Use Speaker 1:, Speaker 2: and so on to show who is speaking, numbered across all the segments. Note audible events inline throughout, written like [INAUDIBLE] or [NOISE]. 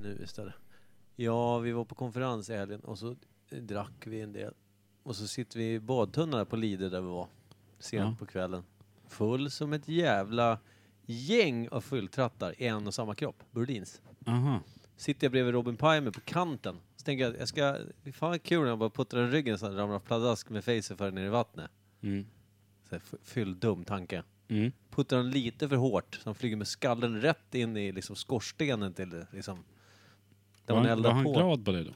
Speaker 1: nu istället. Ja, vi var på konferens i helgen och så drack vi en del. Och så sitter vi i badtunnan där på Lidö där vi var. Sent
Speaker 2: Ja.
Speaker 1: på kvällen. Full som ett jävla gäng av fulltrattar i en och samma kropp. Burdins.
Speaker 2: Aha.
Speaker 1: Sitter jag bredvid Robin Pimer på kanten. Så tänker jag att jag ska... Fan vad kul när jag bara puttrar i ryggen så han ramlar pladask med facer ner i vattnet.
Speaker 2: Mm.
Speaker 1: Så här, f- fylld dum tanke
Speaker 2: Mm.
Speaker 1: puttar den lite för hårt så han flyger med skallen rätt in i liksom skorstenen till liksom, där
Speaker 2: Var,
Speaker 1: man
Speaker 2: han- var
Speaker 1: eldar
Speaker 2: han
Speaker 1: på.
Speaker 2: glad på det då?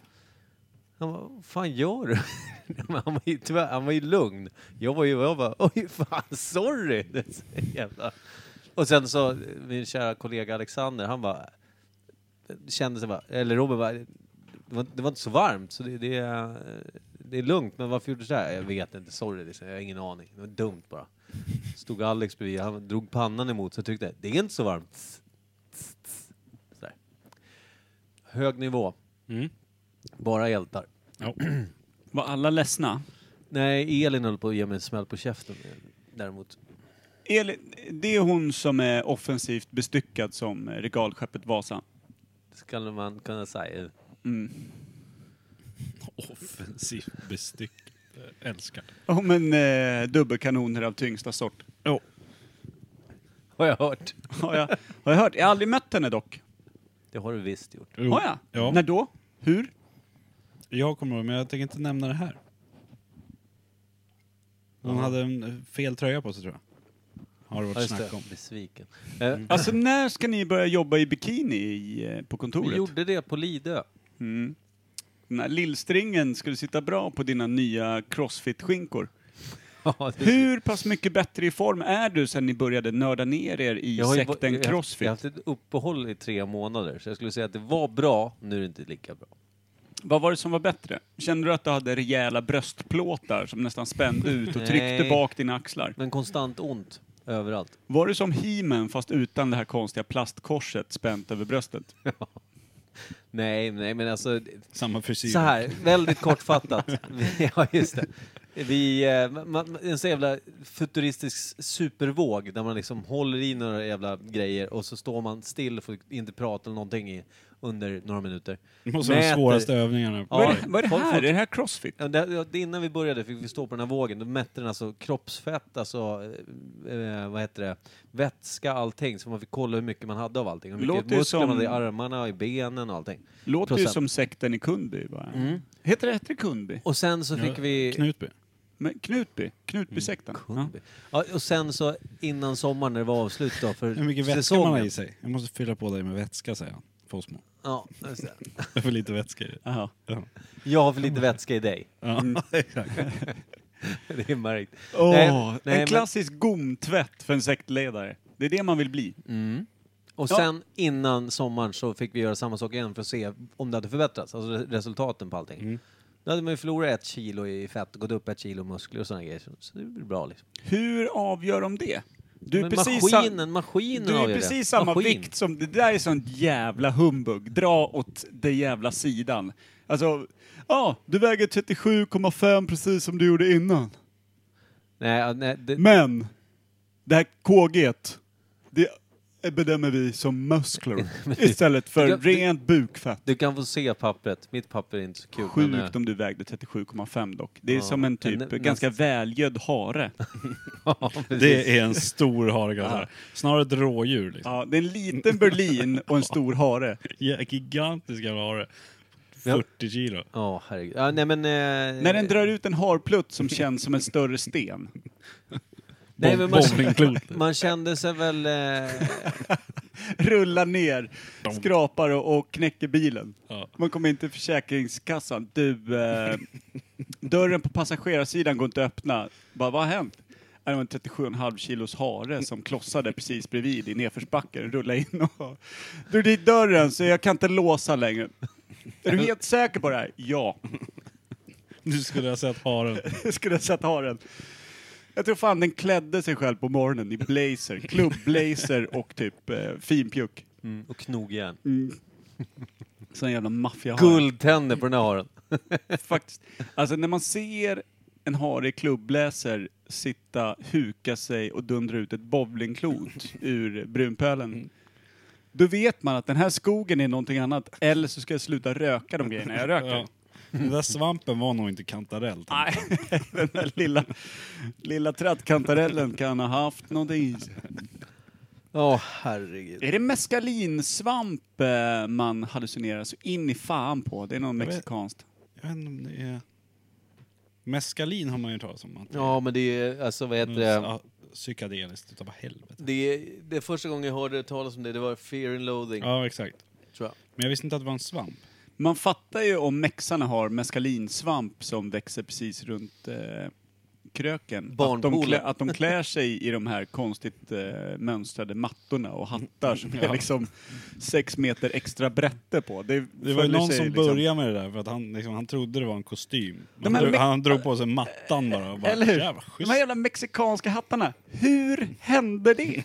Speaker 1: Han bara, vad fan gör du? [LAUGHS] Men han, var ju, tyvärr, han var ju lugn. Jag var ju, jag bara, oj fan, sorry! [LAUGHS] Det är så jävla... Och sen så, min kära kollega Alexander, han bara, kände sig bara, eller Robin bara, det var, det var inte så varmt så det, det, är- det är lugnt, men varför gjorde du så här? Jag vet inte, sorry, liksom, jag har ingen aning. Det var dumt bara. Stod Alex bredvid, han drog pannan emot så jag tyckte, det är inte så varmt. Tss, tss, tss. Så där. Hög nivå,
Speaker 2: Mm.
Speaker 1: bara hjältar.
Speaker 2: Ja. Var alla ledsna?
Speaker 1: Nej, Elin höll på att ge mig en smäll på käften eh, däremot.
Speaker 3: Elin, det är hon som är offensivt bestyckad som eh, regalskeppet Vasa.
Speaker 1: Det skulle man kunna säga.
Speaker 3: Mm.
Speaker 2: Offensivt bestyck. Älskar.
Speaker 3: Om en eh, dubbelkanoner av tyngsta sort.
Speaker 2: Ja.
Speaker 1: Har jag hört.
Speaker 3: Har jag, har jag hört. Jag har aldrig mött henne dock.
Speaker 1: Det har du visst gjort.
Speaker 2: Jo.
Speaker 3: Har jag?
Speaker 2: Ja.
Speaker 3: När då? Hur?
Speaker 2: Jag kommer ihåg, men jag tänker inte nämna det här. Hon hade en eh, fel tröja på sig tror jag. Har det
Speaker 1: Ja,
Speaker 2: varit
Speaker 1: just
Speaker 2: snack om.
Speaker 1: det. Besviken. Eh,
Speaker 3: Alltså när ska ni börja jobba i bikini i, eh, på
Speaker 1: vi
Speaker 3: kontoret?
Speaker 1: gjorde det på Lidö.
Speaker 3: Mm. Den här lillstringen skulle sitta bra på dina nya crossfit-skinkor.
Speaker 1: Ja, det-
Speaker 3: Hur pass mycket bättre i form är du sen ni började nörda ner er i
Speaker 1: har ju-
Speaker 3: sekten
Speaker 1: jag har-
Speaker 3: crossfit?
Speaker 1: Jag har haft ett uppehåll i tre månader, så jag skulle säga att det var bra, nu är det inte lika bra.
Speaker 3: Vad var det som var bättre? Kände du att du hade rejäla bröstplåtar som nästan spände ut och tryckte
Speaker 1: Nej.
Speaker 3: bak dina axlar?
Speaker 1: Men konstant ont överallt.
Speaker 3: Var du som he fast utan det här konstiga plastkorset spänt över bröstet?
Speaker 1: Nej, nej men alltså, det-
Speaker 2: Samma frisyr.
Speaker 1: Så här, väldigt kortfattat.
Speaker 2: [LAUGHS]
Speaker 1: [LAUGHS] Vi- ja, just det. Vi, eh, ma- ma- en så jävla futuristisk supervåg där man liksom håller i några jävla grejer och så står man still och får inte prata eller någonting i, under några minuter.
Speaker 2: Det måste vara de
Speaker 1: Mäter-
Speaker 2: svåraste övningarna.
Speaker 1: Ja.
Speaker 3: vad är det, vad är det
Speaker 1: folk-
Speaker 3: här?
Speaker 1: folk-
Speaker 3: Är det här crossfit?
Speaker 1: Ja, det, ja, det innan vi började fick vi stå på den här vågen, då mätte den alltså kroppsfett, alltså eh, eh, vad heter det, vätska, allting. Så man fick kolla hur mycket man hade av allting. Hur mycket
Speaker 3: Låter ju
Speaker 1: muskler man
Speaker 3: som-
Speaker 1: hade i armarna, i benen och allting.
Speaker 3: Låter ju
Speaker 1: procent.
Speaker 3: som sekten i Kundby. Bara. Heter det, heter det Kundby?
Speaker 1: Mm. Och sen så fick vi...
Speaker 2: Knutby.
Speaker 3: Men Knutby? Knutbysekten? Ja.
Speaker 1: Kundby. Ja, och sen så innan sommaren när det var avslut då för
Speaker 2: Hur mycket vätska
Speaker 1: säsongen.
Speaker 2: man har i sig. Jag måste fylla på dig med vätska säger han. Fosmo.
Speaker 1: Ja, just det.
Speaker 2: Det är [LAUGHS] för lite vätska i det.
Speaker 3: Jaha.
Speaker 2: Ja.
Speaker 1: Jag har för lite vätska i dig.
Speaker 2: Ja.
Speaker 1: Mm.
Speaker 3: [LAUGHS]
Speaker 1: [LAUGHS] Det är märkt.
Speaker 3: Åh,
Speaker 1: Nej, nej, men-
Speaker 3: en klassisk gomtvätt för en sektledare. Det är det man vill bli.
Speaker 1: Mm. Och
Speaker 3: Ja.
Speaker 1: sen innan sommaren så fick vi göra samma sak igen för att se om det hade förbättrats, alltså re- resultaten på allting.
Speaker 3: Mm.
Speaker 1: Då hade man ju förlorat ett kilo i fett och gått upp ett kilo muskler och sådana grejer. Så- Så det blir bra liksom.
Speaker 3: Hur avgör de det? Du är
Speaker 1: Men
Speaker 3: precis sa-
Speaker 1: maskinen, maskinen
Speaker 3: Du är
Speaker 1: avgör
Speaker 3: precis
Speaker 1: det.
Speaker 3: samma
Speaker 1: Maskin.
Speaker 3: vikt som... Det där är sån jävla humbug. Dra åt den jävla sidan. Alltså, ja, du väger 37,5 precis som du gjorde innan.
Speaker 1: Nej, ja, nej det,
Speaker 3: Men, det här KG, det bedömer vi
Speaker 1: [LAUGHS]
Speaker 3: som muskler istället för
Speaker 1: Jag- det-
Speaker 3: rent bukfett.
Speaker 1: du kan få se pappret. Mitt papper är inte så kul. men, eh,
Speaker 3: Sjukt om du vägde 37,5 dock. Det är
Speaker 1: Ja,
Speaker 3: som en typ
Speaker 1: men- men-
Speaker 3: ganska välgödd hare.
Speaker 1: [LAUGHS] ja, precis.
Speaker 2: Det är en stor hargas här. Snarare ett rådjur liksom.
Speaker 3: Ja, det är en liten berlin och en
Speaker 1: [LAUGHS]
Speaker 3: stor hare.
Speaker 2: Ja. Gigantisk jävla hare.
Speaker 1: Ja.
Speaker 2: 40 kilo.
Speaker 1: Ja, herregud. Ja, nej, men, eh,
Speaker 3: När den drar ut en harplutt som känns som en större sten.
Speaker 1: nej, men man, [LAUGHS]
Speaker 2: Bowlingklot.
Speaker 1: man kände sig väl...
Speaker 3: [LAUGHS]
Speaker 1: Eh,
Speaker 3: Rullar ner, skrapar och, och knäcker bilen.
Speaker 2: Ja.
Speaker 3: Man kommer in till Försäkringskassan. Du, eh, dörren på passagerarsidan går inte att öppna. Bara, vad har hänt? "Ja, Det var en 37,5 kilos hare som klossade precis bredvid i nedförsbacken. Rullade in och... Du, det är dörren så jag kan inte låsa längre. Är du helt säker på det här? Ja. [LAUGHS]
Speaker 2: Du skulle ha sett haren.
Speaker 3: Jag skulle ha sett haren. Jag tror fan den klädde sig själv på morgonen i blazer, klubbblazer och typ eh, finpjuck.
Speaker 1: och knogjärn.
Speaker 3: [LAUGHS] Sån jävla maffiahare.
Speaker 1: Guldtänder på den här haren.
Speaker 3: [LAUGHS] Faktiskt. Alltså när man ser en hare i klubbblazer
Speaker 2: [LAUGHS] Mm.
Speaker 3: sitta, huka sig och dundra ut ett bowlingklot ur brunpölen. Då vet man att den här skogen är någonting annat, eller så ska jag sluta röka de grejerna jag röker.
Speaker 2: Ja. Den där svampen var nog inte kantarell. tänkte jag.
Speaker 3: Nej, [LAUGHS] den där lilla, lilla trattkantarellen kan ha haft någonting i sig.
Speaker 1: Åh, herregud.
Speaker 3: Är det mescalinsvamp eh, man hallucinerar så in i fan på? Det är något
Speaker 2: Jag vet-
Speaker 3: mexikanskt.
Speaker 2: Jag vet inte om det är... Meskalin har man ju hört talas om. Att
Speaker 1: Ja, men det är, alltså vad heter
Speaker 3: Mm,
Speaker 1: det?
Speaker 2: Ja, Psykedeliskt utav helvete.
Speaker 1: Det, är- det är första gången jag hörde talas om det, det var Fear and Loathing,
Speaker 2: Ja, exakt.
Speaker 1: tror jag.
Speaker 2: Men jag visste inte att det var en svamp.
Speaker 3: Man fattar ju om mexarna har mescalinsvamp som växer precis runt eh, kröken. Att de,
Speaker 1: Barnpoolen.
Speaker 3: klä, att de klär sig i de här konstigt eh, mönstrade mattorna och hattar som är liksom sex meter extra brätte på. Det,
Speaker 2: Det var ju
Speaker 3: följer
Speaker 2: någon
Speaker 3: sig
Speaker 2: som
Speaker 3: liksom.
Speaker 2: började med det där för att han, liksom, han trodde det var en kostym. Han,
Speaker 3: De här
Speaker 2: drog,
Speaker 3: me-
Speaker 2: han drog på sig mattan bara och bara
Speaker 3: Eller hur?
Speaker 2: jävla
Speaker 3: De
Speaker 2: schysst.
Speaker 3: här jävla mexikanska hattarna, hur hände [LAUGHS] det?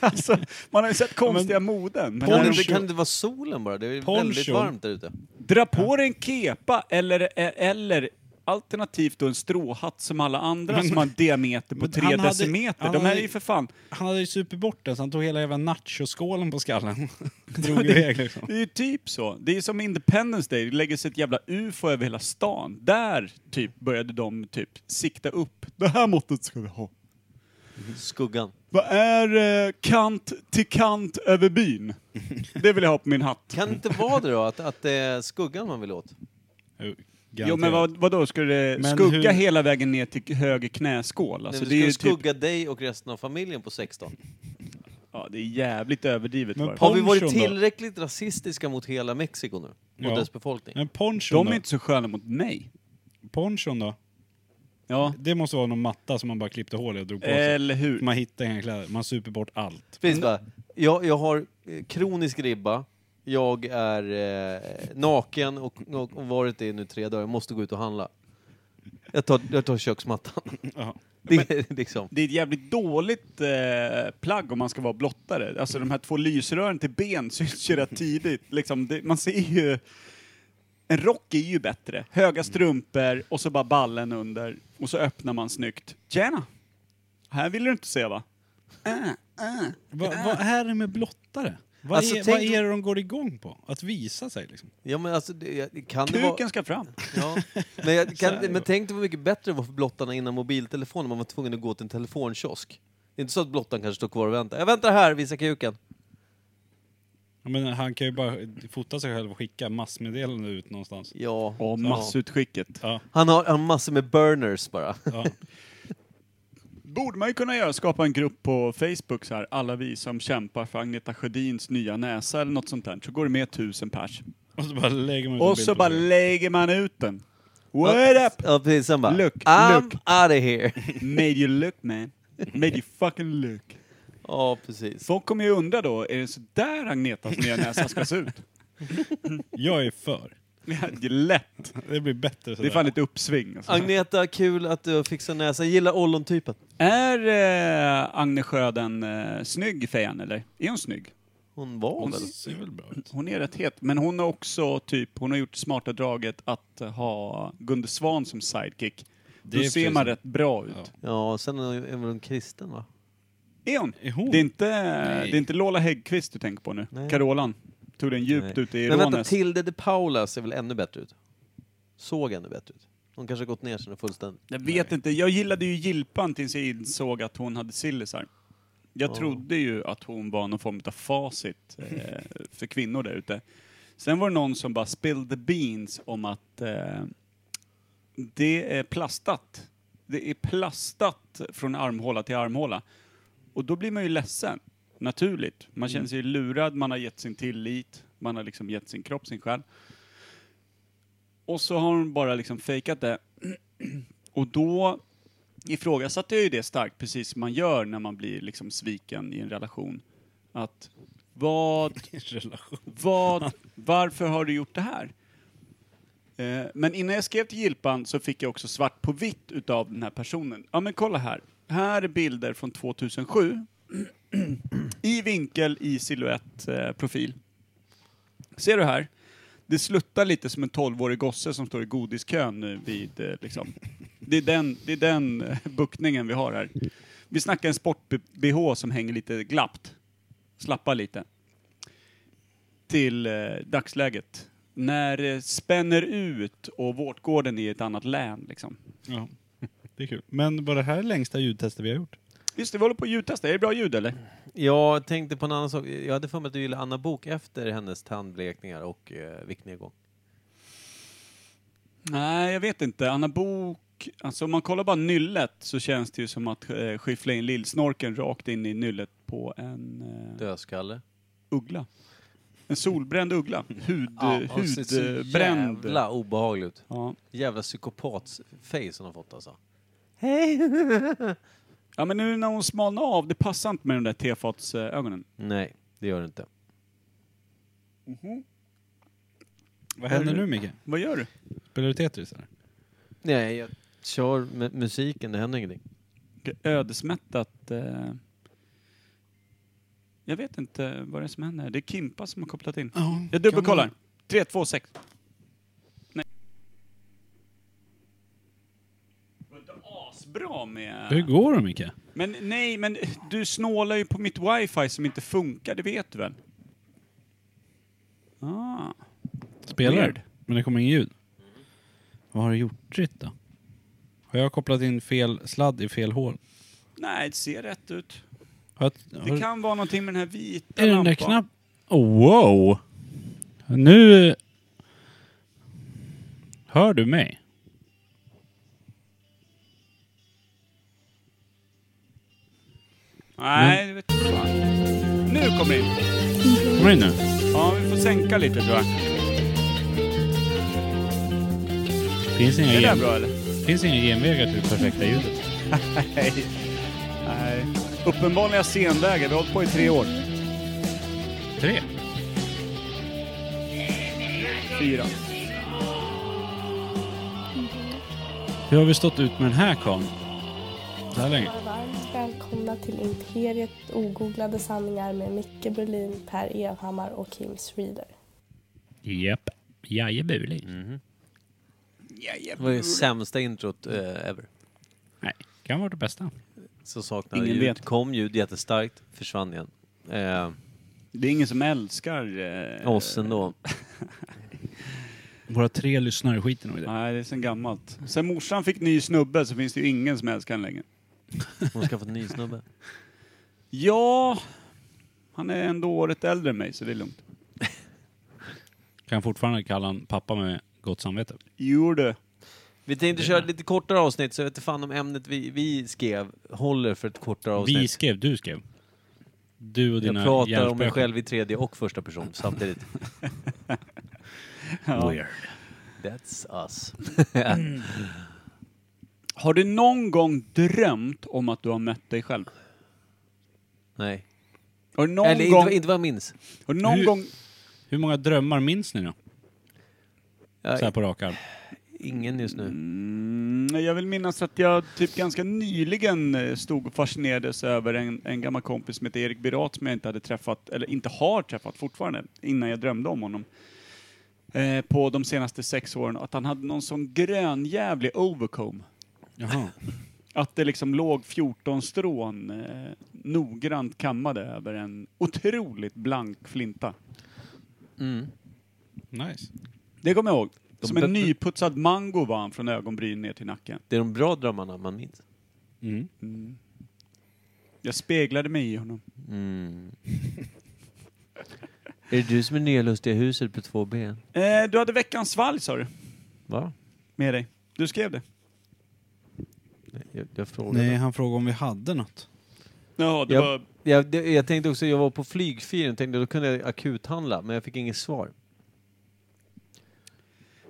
Speaker 3: alltså, man har ju sett konstiga moden. Men
Speaker 1: Kan
Speaker 3: när
Speaker 1: det,
Speaker 3: de
Speaker 1: inte-
Speaker 3: kör-
Speaker 1: kan det vara solen bara? Det är
Speaker 2: Poncho.
Speaker 1: väldigt varmt där ute.
Speaker 3: Dra på dig en kepa eller, eller alternativt då en stråhatt som alla andra som har en diameter på
Speaker 2: men
Speaker 3: tre
Speaker 2: han hade-
Speaker 3: decimeter.
Speaker 2: han
Speaker 3: De här
Speaker 2: hade-
Speaker 3: är ju för fan...
Speaker 2: Han hade ju super bort den så han tog hela jävla nachoskålen
Speaker 1: [LAUGHS]
Speaker 2: på skallen. drog iväg liksom.
Speaker 3: Det är ju typ så. Det är som Independence Day, det lägger sig ett jävla ufo över hela stan. Där typ började de typ sikta upp. Det här måttet ska vi ha.
Speaker 1: Skuggan.
Speaker 3: Vad är eh, kant till kant över byn? Det vill jag ha på min hatt.
Speaker 1: Kan det inte vara det då, att, att det är skuggan man vill åt?
Speaker 2: Jo,
Speaker 3: Jo men vad, vadå, ska det
Speaker 2: Men
Speaker 3: skugga
Speaker 2: hur-
Speaker 3: hela vägen ner till höger knäskål? Alltså,
Speaker 1: Nej,
Speaker 3: det är
Speaker 1: du
Speaker 3: ju
Speaker 1: ska
Speaker 3: typ,
Speaker 1: skugga dig och resten av familjen på 16.
Speaker 3: ja, det är jävligt överdrivet.
Speaker 2: Men
Speaker 3: bara.
Speaker 1: Har vi varit
Speaker 2: Ponchon då?
Speaker 1: tillräckligt rasistiska mot hela Mexiko nu? Mot
Speaker 2: Ja.
Speaker 1: dess befolkning?
Speaker 2: Men ponchon
Speaker 3: De
Speaker 2: då?
Speaker 3: är inte så sköna mot mig.
Speaker 2: Ponchon då?
Speaker 3: Ja.
Speaker 2: Det måste vara någon matta som man bara klippte hål i och drog på sig.
Speaker 3: Eh, Eller hur?
Speaker 2: Man hittar inga kläder, man super bort allt.
Speaker 3: Mm.
Speaker 1: Precis bara. Jag, jag har eh, kronisk ribba, jag är eh, naken och, och, och varit det nu tre dagar, jag måste gå ut och handla. Jag tar, jag tar köksmattan. [LAUGHS]
Speaker 2: Ja.
Speaker 1: Det är liksom...
Speaker 3: Det är ett jävligt dåligt eh, plagg om man ska vara blottare. Alltså de här två lysrören till ben [LAUGHS] syns ju rätt tidigt. Liksom, det, man ser ju... En rock är ju bättre. Höga strumpor och så bara ballen under. Och så öppnar man snyggt. Tjena! Här vill du inte se va? Äh.
Speaker 2: Va,
Speaker 3: Eh.
Speaker 2: vad är det med blottare? Vad,
Speaker 1: Alltså,
Speaker 2: är,
Speaker 1: tänk-
Speaker 2: vad är det de går igång på? Att visa sig liksom?
Speaker 1: Ja men alltså, det, jag- kan det vara...
Speaker 3: Kuken ska fram.
Speaker 1: Ja. Men, jag,
Speaker 3: [LAUGHS]
Speaker 1: kan, men tänk dig vad mycket bättre det var för blottarna innan mobiltelefonen, man var tvungen att gå till en telefonkiosk. Det är inte så att blottaren kanske står kvar och väntar. Jag väntar här, visa kuken.
Speaker 2: Ja, Men han kan ju bara fota sig själv och skicka massmeddelanden ut någonstans.
Speaker 1: Ja.
Speaker 3: Och
Speaker 1: så-
Speaker 3: massutskicket.
Speaker 2: Ja,
Speaker 1: Han har, han har massor med burners bara.
Speaker 2: ja.
Speaker 3: Borde man ju kunna göra, skapa en grupp på Facebook så här, alla vi som kämpar för Agneta Sjödins nya näsa eller något sånt där. Så går det med tusen pers.
Speaker 2: Och så bara lägger man ut en
Speaker 3: Och
Speaker 2: bild
Speaker 3: så
Speaker 2: på
Speaker 3: bara
Speaker 2: sig.
Speaker 3: lägger man ut den. What up?
Speaker 1: Ja, precis. Sen bara,
Speaker 3: Look,
Speaker 1: I'm
Speaker 3: look.
Speaker 1: out of here.
Speaker 3: Made you look man. Made you fucking look.
Speaker 1: Ja, precis.
Speaker 3: Folk kommer ju undra då, är det så där Agnetas nya näsa ska se ut?
Speaker 2: Jag är för.
Speaker 3: Ja, det är lätt.
Speaker 2: Det blir bättre
Speaker 3: Det är
Speaker 2: sådär.
Speaker 3: fan ett uppsving. Alltså.
Speaker 1: Agneta, kul att du fixar näsan. Gillar ollontypen.
Speaker 3: Är eh, Agne Sjöden eh, snygg fejan eller? Är hon snygg?
Speaker 1: Hon var
Speaker 2: Hon
Speaker 1: väl?
Speaker 2: ser väl bra ut?
Speaker 3: Hon är rätt het, men hon har också typ, hon har gjort smarta draget att ha Gunde Svan som sidekick.
Speaker 2: Det
Speaker 3: Då
Speaker 2: är
Speaker 3: ser
Speaker 2: precis-
Speaker 3: man rätt bra ut.
Speaker 1: Ja, sen är hon- är väl hon kristen va?
Speaker 3: Är hon?
Speaker 2: Är hon?
Speaker 3: Det, är inte, det är inte Lola Häggkvist du tänker på nu.
Speaker 1: Nej.
Speaker 3: Carolan. Tog den djupt
Speaker 1: Nej.
Speaker 3: ute i
Speaker 1: Men vänta,
Speaker 3: Rånäs.
Speaker 1: Tilde de Paula ser väl ännu bättre ut? Såg ännu bättre ut. Hon kanske har gått ner sig fullständigt.
Speaker 3: Jag vet inte, jag gillade ju Gilpan tills jag insåg att hon hade sillisar. Jag
Speaker 1: Ja.
Speaker 3: trodde ju att hon var någon form av facit eh, för kvinnor där ute. Sen var det någon som bara spilled the beans om att eh, det är plastat. Det är plastat från armhåla till armhåla. Och då blir man ju ledsen, naturligt. Man känner sig lurad, man har gett sin tillit, man har liksom gett sin kropp, sin själ. Och så har hon bara liksom fejkat det. Och då ifrågasatte jag ju det starkt, precis som man gör när man blir liksom sviken i en relation. Att vad
Speaker 2: I en relation.
Speaker 3: vad, varför har du gjort det här? Eh, men innan jag skrev till Gilpan så fick jag också svart på vitt utav den här personen. Ja men kolla här. Här är bilder från 2007. I vinkel, i silhuett, eh, profil. Ser du här? Det sluttar lite som en 12-årig gosse som står i godiskön nu vid, eh, liksom. Det är den, det är den eh, buktningen vi har här. Vi snackar en sport-bh som hänger lite glappt. Slappa lite. till eh, dagsläget. När det spänner ut och vårtgården är i ett annat län liksom.
Speaker 2: Ja. Det är kul. Men var det här längsta ljudtestet vi har gjort?
Speaker 3: Just det, vi håller på att ljudtesta. Är det bra ljud eller?
Speaker 1: Jag tänkte på en annan sak. Jag hade för mig att du gillade Anna Bok efter hennes tandblekningar och eh, viktnedgång.
Speaker 3: Nej, jag vet inte. Anna Bok, alltså om man kollar bara nyllet så känns det ju som att eh, skyffla in lillsnorken rakt in i nyllet på en eh,
Speaker 1: Dödskalle.
Speaker 3: uggla. En solbränd uggla. Hud,
Speaker 1: och så- så
Speaker 3: hudbränd.
Speaker 1: Jävla obehagligt.
Speaker 3: Ja.
Speaker 1: Jävla psykopat-face hon har fått alltså. Hej!
Speaker 3: ja, men nu när hon smalnar av, det passar inte med de där tefatsögonen.
Speaker 1: Nej, det gör det inte.
Speaker 2: Vad händer nu Micke?
Speaker 3: Vad gör du?
Speaker 2: Spelar du Tetris eller?
Speaker 1: Nej, jag kör med musiken. Det händer ingenting.
Speaker 3: Vilket Ödesmättat. Eh, jag vet inte vad det är som händer. Det är Kimpa som har kopplat in. Jag dubbelkollar. 3, 2, 6. Nej. Det var inte asbra
Speaker 2: Hur
Speaker 3: med...
Speaker 2: går det Micke?
Speaker 3: Men nej, men du snålar ju på mitt wifi som inte funkar, det vet du väl? Ah.
Speaker 2: Spelar
Speaker 3: Weird. Mm.
Speaker 2: det? Men det kommer ingen ljud. Vad har du gjort rätt då? Har jag kopplat in fel sladd i fel hål?
Speaker 3: Nej, det ser rätt ut.
Speaker 2: Har jag,
Speaker 3: Det
Speaker 2: har,
Speaker 3: kan vara någonting med den här vita
Speaker 2: är den där
Speaker 3: lampan.
Speaker 2: knapp... Oh, wow! Nu... Hör du mig?
Speaker 3: Nej, det vet jag fan. Nu kommer det in.
Speaker 2: Kom in nu.
Speaker 3: Ja, vi får sänka lite tror jag.
Speaker 2: Finns inga,
Speaker 3: Är det där
Speaker 2: gen,
Speaker 3: bra eller?
Speaker 2: finns inga genvägar till det perfekta ljudet.
Speaker 3: Nej. Nej. Uppenbarliga senvägar. Vi har hållit på i tre år.
Speaker 2: Tre.
Speaker 3: Fyra.
Speaker 2: Hur har vi stått ut med den här karln? Så här länge?
Speaker 4: Varmt välkomna till Imperiet ogooglade sanningar med Micke Berlin, Per Evhammar och Kim Schreeder.
Speaker 2: Japp. Jajebuli.
Speaker 1: Det var det sämsta introt eh, ever.
Speaker 2: Nej, kan vara det bästa.
Speaker 1: Så saknade
Speaker 3: Ingen
Speaker 1: ljud.
Speaker 3: vet.
Speaker 1: Kom ljud jättestarkt, försvann igen. Eh,
Speaker 3: Det är ingen som älskar... Eh,
Speaker 1: oss ändå.
Speaker 2: Våra tre lyssnare skiter nog i det.
Speaker 3: Nej, det är sen gammalt. Sen morsan fick ny snubbe så finns det ju ingen som älskar henne längre.
Speaker 1: Hon ska få en ny snubbe.
Speaker 3: Ja, han är ändå året äldre än mig så det är lugnt.
Speaker 2: Kan fortfarande kalla han pappa med gott samvete.
Speaker 3: Jo du.
Speaker 1: Vi tänkte köra ett lite kortare avsnitt, så jag vet inte fan om ämnet vi, vi skrev håller för ett kortare
Speaker 2: Vi
Speaker 1: avsnitt.
Speaker 2: skrev, du skrev. Du och dina
Speaker 1: jag pratar om mig
Speaker 2: hjärnspöken.
Speaker 1: själv i tredje och första person samtidigt.
Speaker 3: Ja.
Speaker 1: [LAUGHS] That's [LAUGHS] us. Mm.
Speaker 3: Har du någon gång drömt om att du har mött dig själv?
Speaker 1: Nej.
Speaker 3: Har du någon
Speaker 1: Eller
Speaker 3: gång...
Speaker 1: inte, inte vad jag minns.
Speaker 3: Har du någon
Speaker 2: Hur-
Speaker 3: gång...
Speaker 2: Hur många drömmar minns ni då?
Speaker 1: Jag-
Speaker 2: Så här på rak arm.
Speaker 1: Ingen just nu.
Speaker 3: Mm, jag vill minnas att jag typ ganska nyligen eh, stod och fascinerades över en, en gammal kompis som heter Erik Birat som jag inte hade träffat, eller inte har träffat fortfarande, innan jag drömde om honom. Eh, på de senaste sex åren, att han hade någon sån grönjävlig overcomb.
Speaker 2: Jaha.
Speaker 3: Att det liksom låg 14 strån eh, noggrant kammade över en otroligt blank flinta.
Speaker 1: Mm.
Speaker 2: Nice.
Speaker 3: Det kommer jag ihåg.
Speaker 1: De
Speaker 3: Som en
Speaker 1: bättre-
Speaker 3: nyputsad mango var han från ögonbryn ner till nacken.
Speaker 1: Det är de bra drömmarna man minns.
Speaker 2: Mm.
Speaker 3: Jag speglade mig i honom.
Speaker 1: [LAUGHS] Mm. är det du som är nya lustiga huset på två ben?
Speaker 3: Eh, du hade veckans svalg sa du.
Speaker 1: Va?
Speaker 3: med dig. Du skrev det.
Speaker 1: Nej, Jag, jag frågade.
Speaker 2: Mm. Nej, han frågade om vi hade något.
Speaker 3: Jaha, det
Speaker 1: Ja.
Speaker 3: var...
Speaker 1: Jag, det, jag tänkte också, jag var på flygfyren tänkte då kunde jag akuthandla, men jag fick inget svar.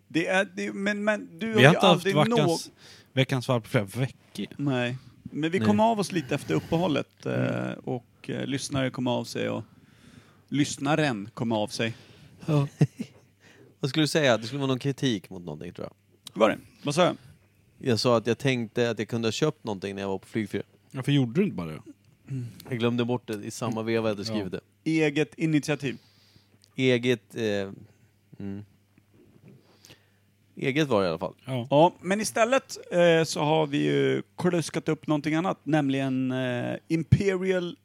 Speaker 3: Det är, det, men, men du har
Speaker 2: Vi
Speaker 3: ju
Speaker 2: har inte haft
Speaker 3: aldrig
Speaker 2: veckans,
Speaker 3: nå-
Speaker 2: veckans varv på flera veckor.
Speaker 3: Nej. Men vi
Speaker 1: Nej.
Speaker 3: kom av oss lite efter uppehållet eh, och eh, lyssnare kom av sig och lyssnaren kom av sig.
Speaker 1: Vad skulle du säga? Det skulle vara någon kritik mot någonting tror jag.
Speaker 3: Var det? Vad sa jag?
Speaker 1: Jag sa att jag tänkte att jag kunde ha köpt någonting när jag var på flygfyren.
Speaker 2: Varför gjorde du inte bara det?
Speaker 1: Jag glömde bort det i samma veva jag hade skrivit det.
Speaker 3: Eget initiativ.
Speaker 1: Eget... Eh, mm. Eget var det i alla fall.
Speaker 2: Ja.
Speaker 3: Ja, men istället eh, så har vi ju kluskat upp någonting annat, nämligen eh, Imperial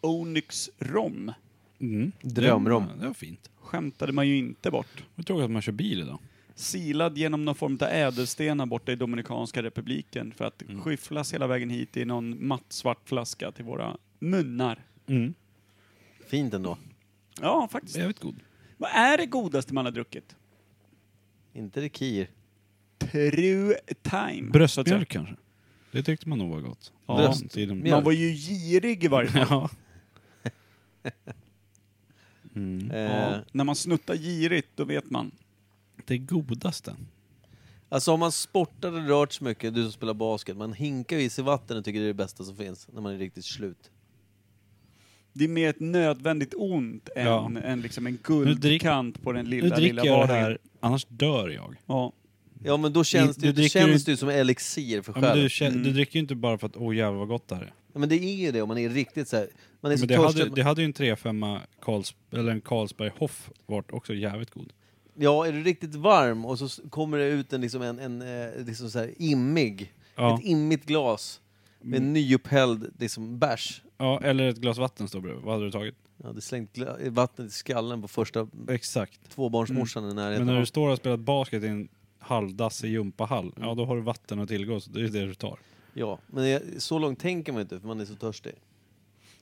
Speaker 3: Onyx Rom.
Speaker 2: Mm.
Speaker 1: Drömrom.
Speaker 2: Det, det var fint.
Speaker 3: Skämtade man ju inte bort.
Speaker 2: Jag tror att man kör bil idag.
Speaker 3: Silad genom någon form av ädelstenar borta i Dominikanska republiken för att
Speaker 2: Mm.
Speaker 3: skyfflas hela vägen hit i någon matt svart flaska till våra munnar.
Speaker 2: Mm.
Speaker 1: Fint ändå.
Speaker 3: Ja, faktiskt.
Speaker 2: Jävligt god.
Speaker 3: Vad är det godaste man har druckit?
Speaker 1: Inte det kir.
Speaker 3: True time. så att säga.
Speaker 2: Bröstmjölk kanske? Det tyckte man nog var gott.
Speaker 3: Ja.
Speaker 2: Bröstmjölk.
Speaker 1: Bröstmjölk.
Speaker 3: Man var ju girig i varje fall.
Speaker 2: [LAUGHS] Ja. Mm.
Speaker 1: Eh,
Speaker 3: Ja. När man snuttar girigt, då vet man.
Speaker 2: Det godaste.
Speaker 1: Alltså om man sportar och rört sig mycket, du som spelar basket, man hinkar ju i sig vatten och tycker det är det bästa som finns när man är riktigt slut.
Speaker 3: Det är mer ett nödvändigt ont än,
Speaker 2: Ja.
Speaker 3: än liksom en
Speaker 2: Nu drick-
Speaker 3: guldkant på den
Speaker 2: Nu
Speaker 3: lilla, lilla
Speaker 2: dricker jag det
Speaker 3: vardagen.
Speaker 2: här, annars dör jag.
Speaker 3: Ja.
Speaker 1: Ja men då känns, det,
Speaker 2: Ni- du
Speaker 1: ju-
Speaker 2: dricker
Speaker 1: känns
Speaker 2: ju-
Speaker 1: det ju som elixir för
Speaker 2: Ja, men
Speaker 1: själen.
Speaker 2: du,
Speaker 1: Ja,
Speaker 2: kä-
Speaker 3: Mm.
Speaker 2: du dricker ju inte bara för att åh jävlar vad gott det här är.
Speaker 1: men, det är ju det om man är riktigt så här. man är så
Speaker 2: Men det,
Speaker 1: törstig.
Speaker 2: hade,
Speaker 1: att man-
Speaker 2: det hade ju en 3-5 Karls, eller en Carlsberg Hoff varit också jävligt god.
Speaker 1: Ja, är du riktigt varm och så s- kommer det ut en, liksom en, en eh, liksom så här immig,
Speaker 2: Ja. Mm.
Speaker 1: ett immigt glas med en nyupphälld liksom bärs.
Speaker 2: Ja, eller ett glas vatten står bredvid. Vad hade du tagit?
Speaker 1: Jag hade slängt gla- vattnet i skallen på första
Speaker 2: Exakt.
Speaker 1: tvåbarnsmorsan i
Speaker 2: Mm. Men
Speaker 1: närheten.
Speaker 2: när du står och spelat basket i en halvdassig gympahall,
Speaker 1: Mm.
Speaker 2: ja då har du vatten att tillgå så det är det du tar.
Speaker 1: Ja, men jag, så långt tänker man inte för man är så törstig.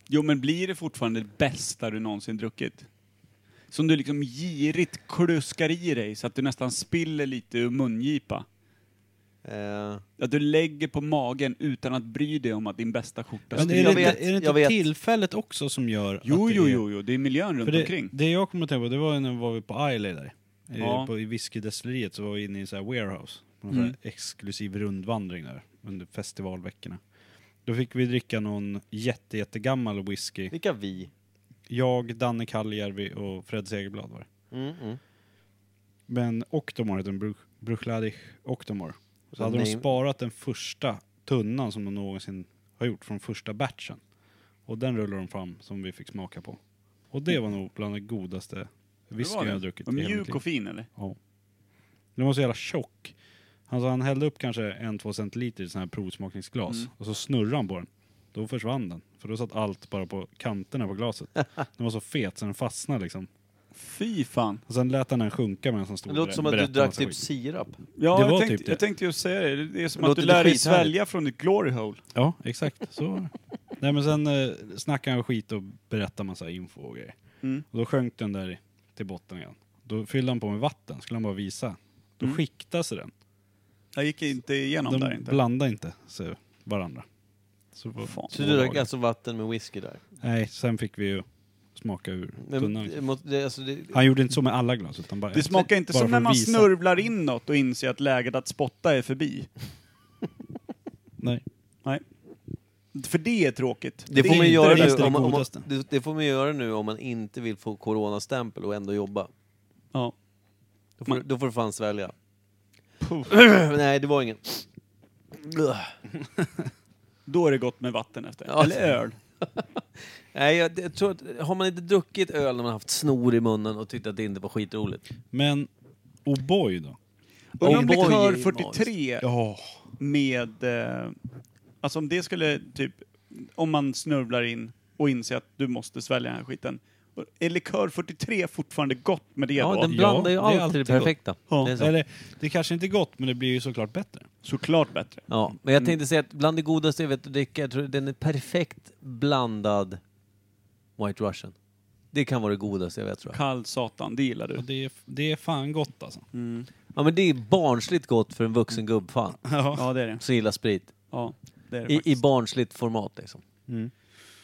Speaker 3: Jo, men blir det fortfarande det bästa du någonsin druckit? Som du liksom girigt kluskar i dig så att du nästan spiller lite ur mungipa.
Speaker 1: Eh,
Speaker 3: Att du lägger på magen utan att bry dig om att din bästa skjorta
Speaker 2: Men
Speaker 1: det-
Speaker 2: är
Speaker 1: jag
Speaker 2: det,
Speaker 3: stryker.
Speaker 1: vet,
Speaker 2: inte, är det
Speaker 1: jag
Speaker 2: inte
Speaker 1: vet.
Speaker 2: tillfället också som gör
Speaker 3: Jo,
Speaker 2: att det
Speaker 3: jo,
Speaker 2: är...
Speaker 3: jo, jo, det är miljön runt
Speaker 2: För det,
Speaker 3: omkring.
Speaker 2: det jag kommer att tänka på, det var ju när vi var på Islay där. I-
Speaker 3: Ja. Mm.
Speaker 2: På, I whiskydestilleriet så var vi inne i så här warehouse. På någon så här exklusiv rundvandring där under festivalveckorna. Då fick vi dricka någon jätte, jättegammal whisky.
Speaker 1: vilka vi?
Speaker 2: Jag, Danne Kalljärvi och Fred Segerblad var det.
Speaker 1: Mm, mm.
Speaker 2: Men Octomore heter den, Bruch- Bruchladich Octomore. Så
Speaker 1: Så
Speaker 2: hade de
Speaker 1: nej-
Speaker 2: sparat den första tunnan som de någonsin har gjort från första batchen. Och den rullade de fram som vi fick smaka på. Och det var nog bland det godaste
Speaker 3: Hur
Speaker 2: whiskyn jag har druckit
Speaker 3: Var
Speaker 2: i hela mitt
Speaker 3: Mjuk
Speaker 2: liv.
Speaker 3: och fin eller?
Speaker 2: Ja. Den var så jävla tjock. Alltså han hällde upp kanske en, två centiliter i sån här provsmakningsglas
Speaker 3: Mm.
Speaker 2: och så snurrade han på den. Då försvann den. För då satt allt bara på kanterna
Speaker 1: [LAUGHS]
Speaker 2: på glaset. Den var så fet så den fastnade liksom.
Speaker 3: Fy fan.
Speaker 2: Och sen lät han den sjunka medan han stod
Speaker 1: Det låter
Speaker 2: och
Speaker 1: som att du
Speaker 2: berättade
Speaker 1: drack
Speaker 2: massa
Speaker 1: typ
Speaker 2: skit.
Speaker 1: sirap.
Speaker 3: Ja,
Speaker 2: Det
Speaker 3: jag,
Speaker 2: var
Speaker 3: tänkte,
Speaker 2: typ det.
Speaker 3: jag tänkte ju säga det. Det är som att
Speaker 1: Låter
Speaker 3: du
Speaker 1: lite
Speaker 3: lär dig
Speaker 1: skithärligt.
Speaker 3: svälja från ditt glory hole.
Speaker 2: Ja, exakt. Så var det. Nej men sen eh, snackade han skit och berättade massa info och grejer.
Speaker 3: Mm.
Speaker 2: Och då sjönk den där i- till botten igen. Då fyllde han på med vatten, skulle han bara visa. Då
Speaker 3: Mm.
Speaker 2: skiktade sig den.
Speaker 3: Jag gick inte igenom där
Speaker 2: De
Speaker 3: inte.
Speaker 2: blandade inte sig varandra. Så det var
Speaker 3: Fan.
Speaker 1: Så
Speaker 2: två
Speaker 1: du drack
Speaker 2: dagar.
Speaker 1: alltså vatten med whisky där?
Speaker 2: Nej, sen fick vi ju smaka ur
Speaker 1: Men,
Speaker 2: tunnan. liksom.
Speaker 1: det, må- det, alltså, det,
Speaker 2: Han gjorde inte så med alla glas utan bara
Speaker 3: Det smakar inte
Speaker 2: bara
Speaker 3: som
Speaker 2: för
Speaker 3: när
Speaker 2: att
Speaker 3: man
Speaker 2: visa.
Speaker 3: snörvlar in något och inser att läget att spotta är förbi.
Speaker 2: Nej.
Speaker 3: För det är tråkigt.
Speaker 1: det, får man
Speaker 2: är
Speaker 1: ju
Speaker 2: inte
Speaker 1: göra
Speaker 2: det
Speaker 1: nu
Speaker 2: bästa,
Speaker 1: om man, om man,
Speaker 2: godaste.
Speaker 1: det, det får man ju göra nu om man inte vill få coronastämpel och ändå jobba.
Speaker 3: Ja.
Speaker 1: Då får,
Speaker 3: Man-
Speaker 1: då får du fan svälja.
Speaker 3: Puff.
Speaker 1: [CLEARS THROAT] Nej, det var ingen.
Speaker 3: Då är det gott med vatten efter.
Speaker 1: Ja.
Speaker 3: Eller öl.
Speaker 1: Nej, jag, jag tror att, har man inte druckit öl när man haft snor i munnen och tyckt att det inte var skitroligt?
Speaker 2: Men O'boy då?
Speaker 3: Undrar om
Speaker 1: O'boy
Speaker 3: likör
Speaker 1: är
Speaker 3: 43
Speaker 2: Ja.
Speaker 3: med... Eh, alltså om det skulle typ... Om man snörvlar in och inser att du måste svälja den här skiten. Och Är likör 43 fortfarande gott med det
Speaker 1: Ja,
Speaker 3: då?
Speaker 1: den blandar ju
Speaker 2: det är
Speaker 1: alltid,
Speaker 2: alltid
Speaker 1: det
Speaker 2: gott.
Speaker 1: perfekta.
Speaker 3: Ja,
Speaker 1: Det är så.
Speaker 2: Eller, det kanske inte är gott men det blir ju såklart bättre.
Speaker 3: Såklart bättre.
Speaker 1: Ja, men jag tänkte säga att bland det godaste jag vet att dricka, jag tror den är perfekt blandad White Russian. Det kan vara det godaste jag vet tror jag.
Speaker 3: Kall satan, det gillar
Speaker 2: Och
Speaker 3: du.
Speaker 2: det är, det är fan gott alltså.
Speaker 1: Ja men det är barnsligt gott för en vuxen gubbfan
Speaker 3: Ja, det är det.
Speaker 1: som gillar sprit.
Speaker 3: Ja, det, är det
Speaker 1: I, i
Speaker 3: faktiskt. Mm.
Speaker 1: barnsligt format liksom.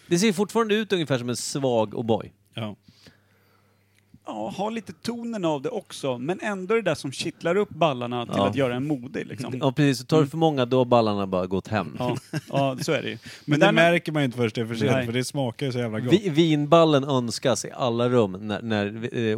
Speaker 1: Det ser fortfarande ut ungefär som en svag O'boy.
Speaker 2: Ja.
Speaker 3: ja, ha lite tonen av det också, men ändå det där som kittlar upp ballarna till
Speaker 1: Ja.
Speaker 3: att göra en modig. Liksom.
Speaker 1: Ja precis, så tar du för många då har ballarna bara gått hem.
Speaker 3: Ja, ja, så är det ju. Men,
Speaker 2: Men det
Speaker 3: därmed-
Speaker 2: märker man ju inte först det är för sent
Speaker 3: Nej.
Speaker 2: för det smakar ju så jävla gott.
Speaker 1: Vi, vinballen önskas i alla rum när, när eh,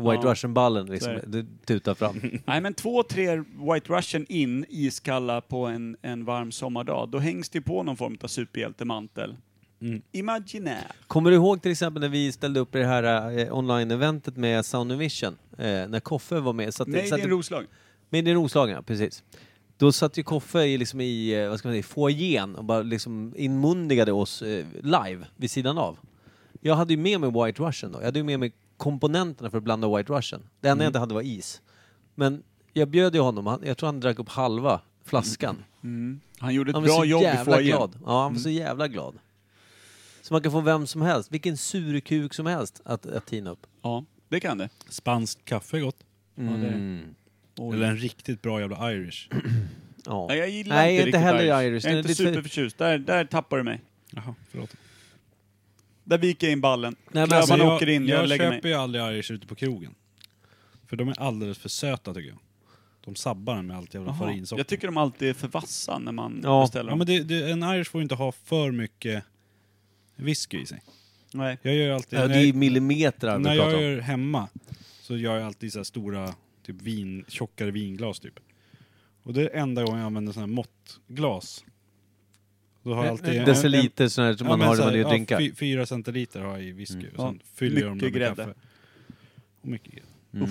Speaker 1: White
Speaker 3: Ja.
Speaker 1: Russian-ballen
Speaker 3: Så
Speaker 1: liksom,
Speaker 3: är
Speaker 1: det tutar
Speaker 3: [LAUGHS]
Speaker 1: fram.
Speaker 3: Nej, men två, tre White Russian in iskalla på en, en varm sommardag, då hängs det ju på någon form av superhjältemantel.
Speaker 2: Mm.
Speaker 3: Imaginär.
Speaker 1: Kommer du ihåg till exempel när vi ställde upp i det här eh, online-eventet med Sound and Vision? Eh, när Koffe var med. Satt,
Speaker 3: Nej, det är
Speaker 1: satt,
Speaker 3: en roslag.
Speaker 1: med i Roslagen, ja, precis. Då satt ju Koffe i, liksom i eh, vad ska man säga, foajén och bara liksom inmundigade oss eh, live vid sidan av. Jag hade ju med mig White Russian då. Jag hade ju med mig komponenterna för att blanda White Russian. Det
Speaker 3: Mm.
Speaker 1: enda jag inte hade var is. Men jag bjöd ju honom, han, jag tror han drack upp halva flaskan.
Speaker 3: Han gjorde Mm. ett
Speaker 1: Han var
Speaker 3: bra
Speaker 1: Mm. så
Speaker 3: jobb i
Speaker 1: jävla
Speaker 3: foajén. Mm.
Speaker 1: glad. Ja, han var så jävla glad. Så man kan få vem som helst, vilken surkuk som helst att, att tina upp.
Speaker 3: Ja, det kan det.
Speaker 2: Spanskt kaffe är gott.
Speaker 3: Ja, det. Mm.
Speaker 1: Mm.
Speaker 3: Oj.
Speaker 2: Eller en riktigt bra jävla Irish.
Speaker 1: Ja.
Speaker 3: Nej, jag gillar
Speaker 1: Nej,
Speaker 3: inte,
Speaker 1: inte
Speaker 3: riktigt
Speaker 1: heller Irish. Det
Speaker 3: Jag är
Speaker 1: är
Speaker 3: inte
Speaker 1: lite för-
Speaker 3: superförtjust. Där, där tappar du mig.
Speaker 2: [CLEARS THROAT] Jaha, förlåt.
Speaker 3: Där viker jag in ballen.
Speaker 1: men
Speaker 3: Klövarna
Speaker 1: alltså,
Speaker 2: jag,
Speaker 3: åker in, jag,
Speaker 2: jag
Speaker 3: lägger
Speaker 2: köper
Speaker 3: mig.
Speaker 2: ju aldrig Irish ute på krogen. För de är alldeles för söta tycker jag. De sabbar den med allt jävla
Speaker 3: Jaha.
Speaker 2: farinsocker.
Speaker 3: Jag tycker de alltid är för vassa när man
Speaker 1: Ja.
Speaker 3: beställer
Speaker 2: Ja,
Speaker 3: dem.
Speaker 2: men det, det, en Irish får ju inte ha för mycket whisky i sig.
Speaker 3: Nej.
Speaker 2: Jag gör ju alltid...
Speaker 1: Ja,
Speaker 2: när
Speaker 1: det är ju
Speaker 2: jag-
Speaker 1: millimeter vi
Speaker 2: när jag
Speaker 1: pratar om.
Speaker 2: gör hemma så gör jag alltid så här stora, typ vin, tjockare vinglas typ. Och det är enda gången jag använder sådana här måttglas. Då har jag alltid... en-
Speaker 1: Eh, Deciliter sån här som man
Speaker 2: men
Speaker 1: har
Speaker 2: så
Speaker 1: när man
Speaker 2: här,
Speaker 1: är och drinkar.
Speaker 2: fy- fyra centiliter har jag i whisky
Speaker 1: Mm.
Speaker 2: och sen
Speaker 3: Ja,
Speaker 2: fyller jag dem
Speaker 3: mycket
Speaker 2: med
Speaker 3: grädde.
Speaker 2: kaffe. Och mycket grädde.
Speaker 1: Mm.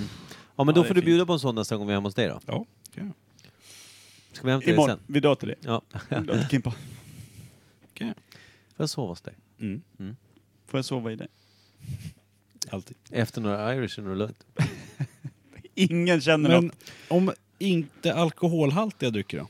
Speaker 1: Ja men
Speaker 3: Ja,
Speaker 1: då
Speaker 3: det
Speaker 1: får
Speaker 3: är
Speaker 1: du
Speaker 3: fint.
Speaker 1: bjuda på en sån nästa gång vi är hemma hos dig då.
Speaker 2: Ja, kan jag.
Speaker 1: Ska vi hämta dig
Speaker 3: Imorgon.
Speaker 1: sen?
Speaker 3: Vi drar till det.
Speaker 1: Ja,
Speaker 3: Vi drar till Kimpa.
Speaker 2: Kan jag.
Speaker 1: får jag sova hos dig?
Speaker 2: Mm,
Speaker 3: Får jag sova i det?
Speaker 2: alltid.
Speaker 1: Efter några Irish är det lugnt.
Speaker 3: Ingen känner
Speaker 2: Men
Speaker 3: något.
Speaker 2: om inte alkoholhaltiga drycker då,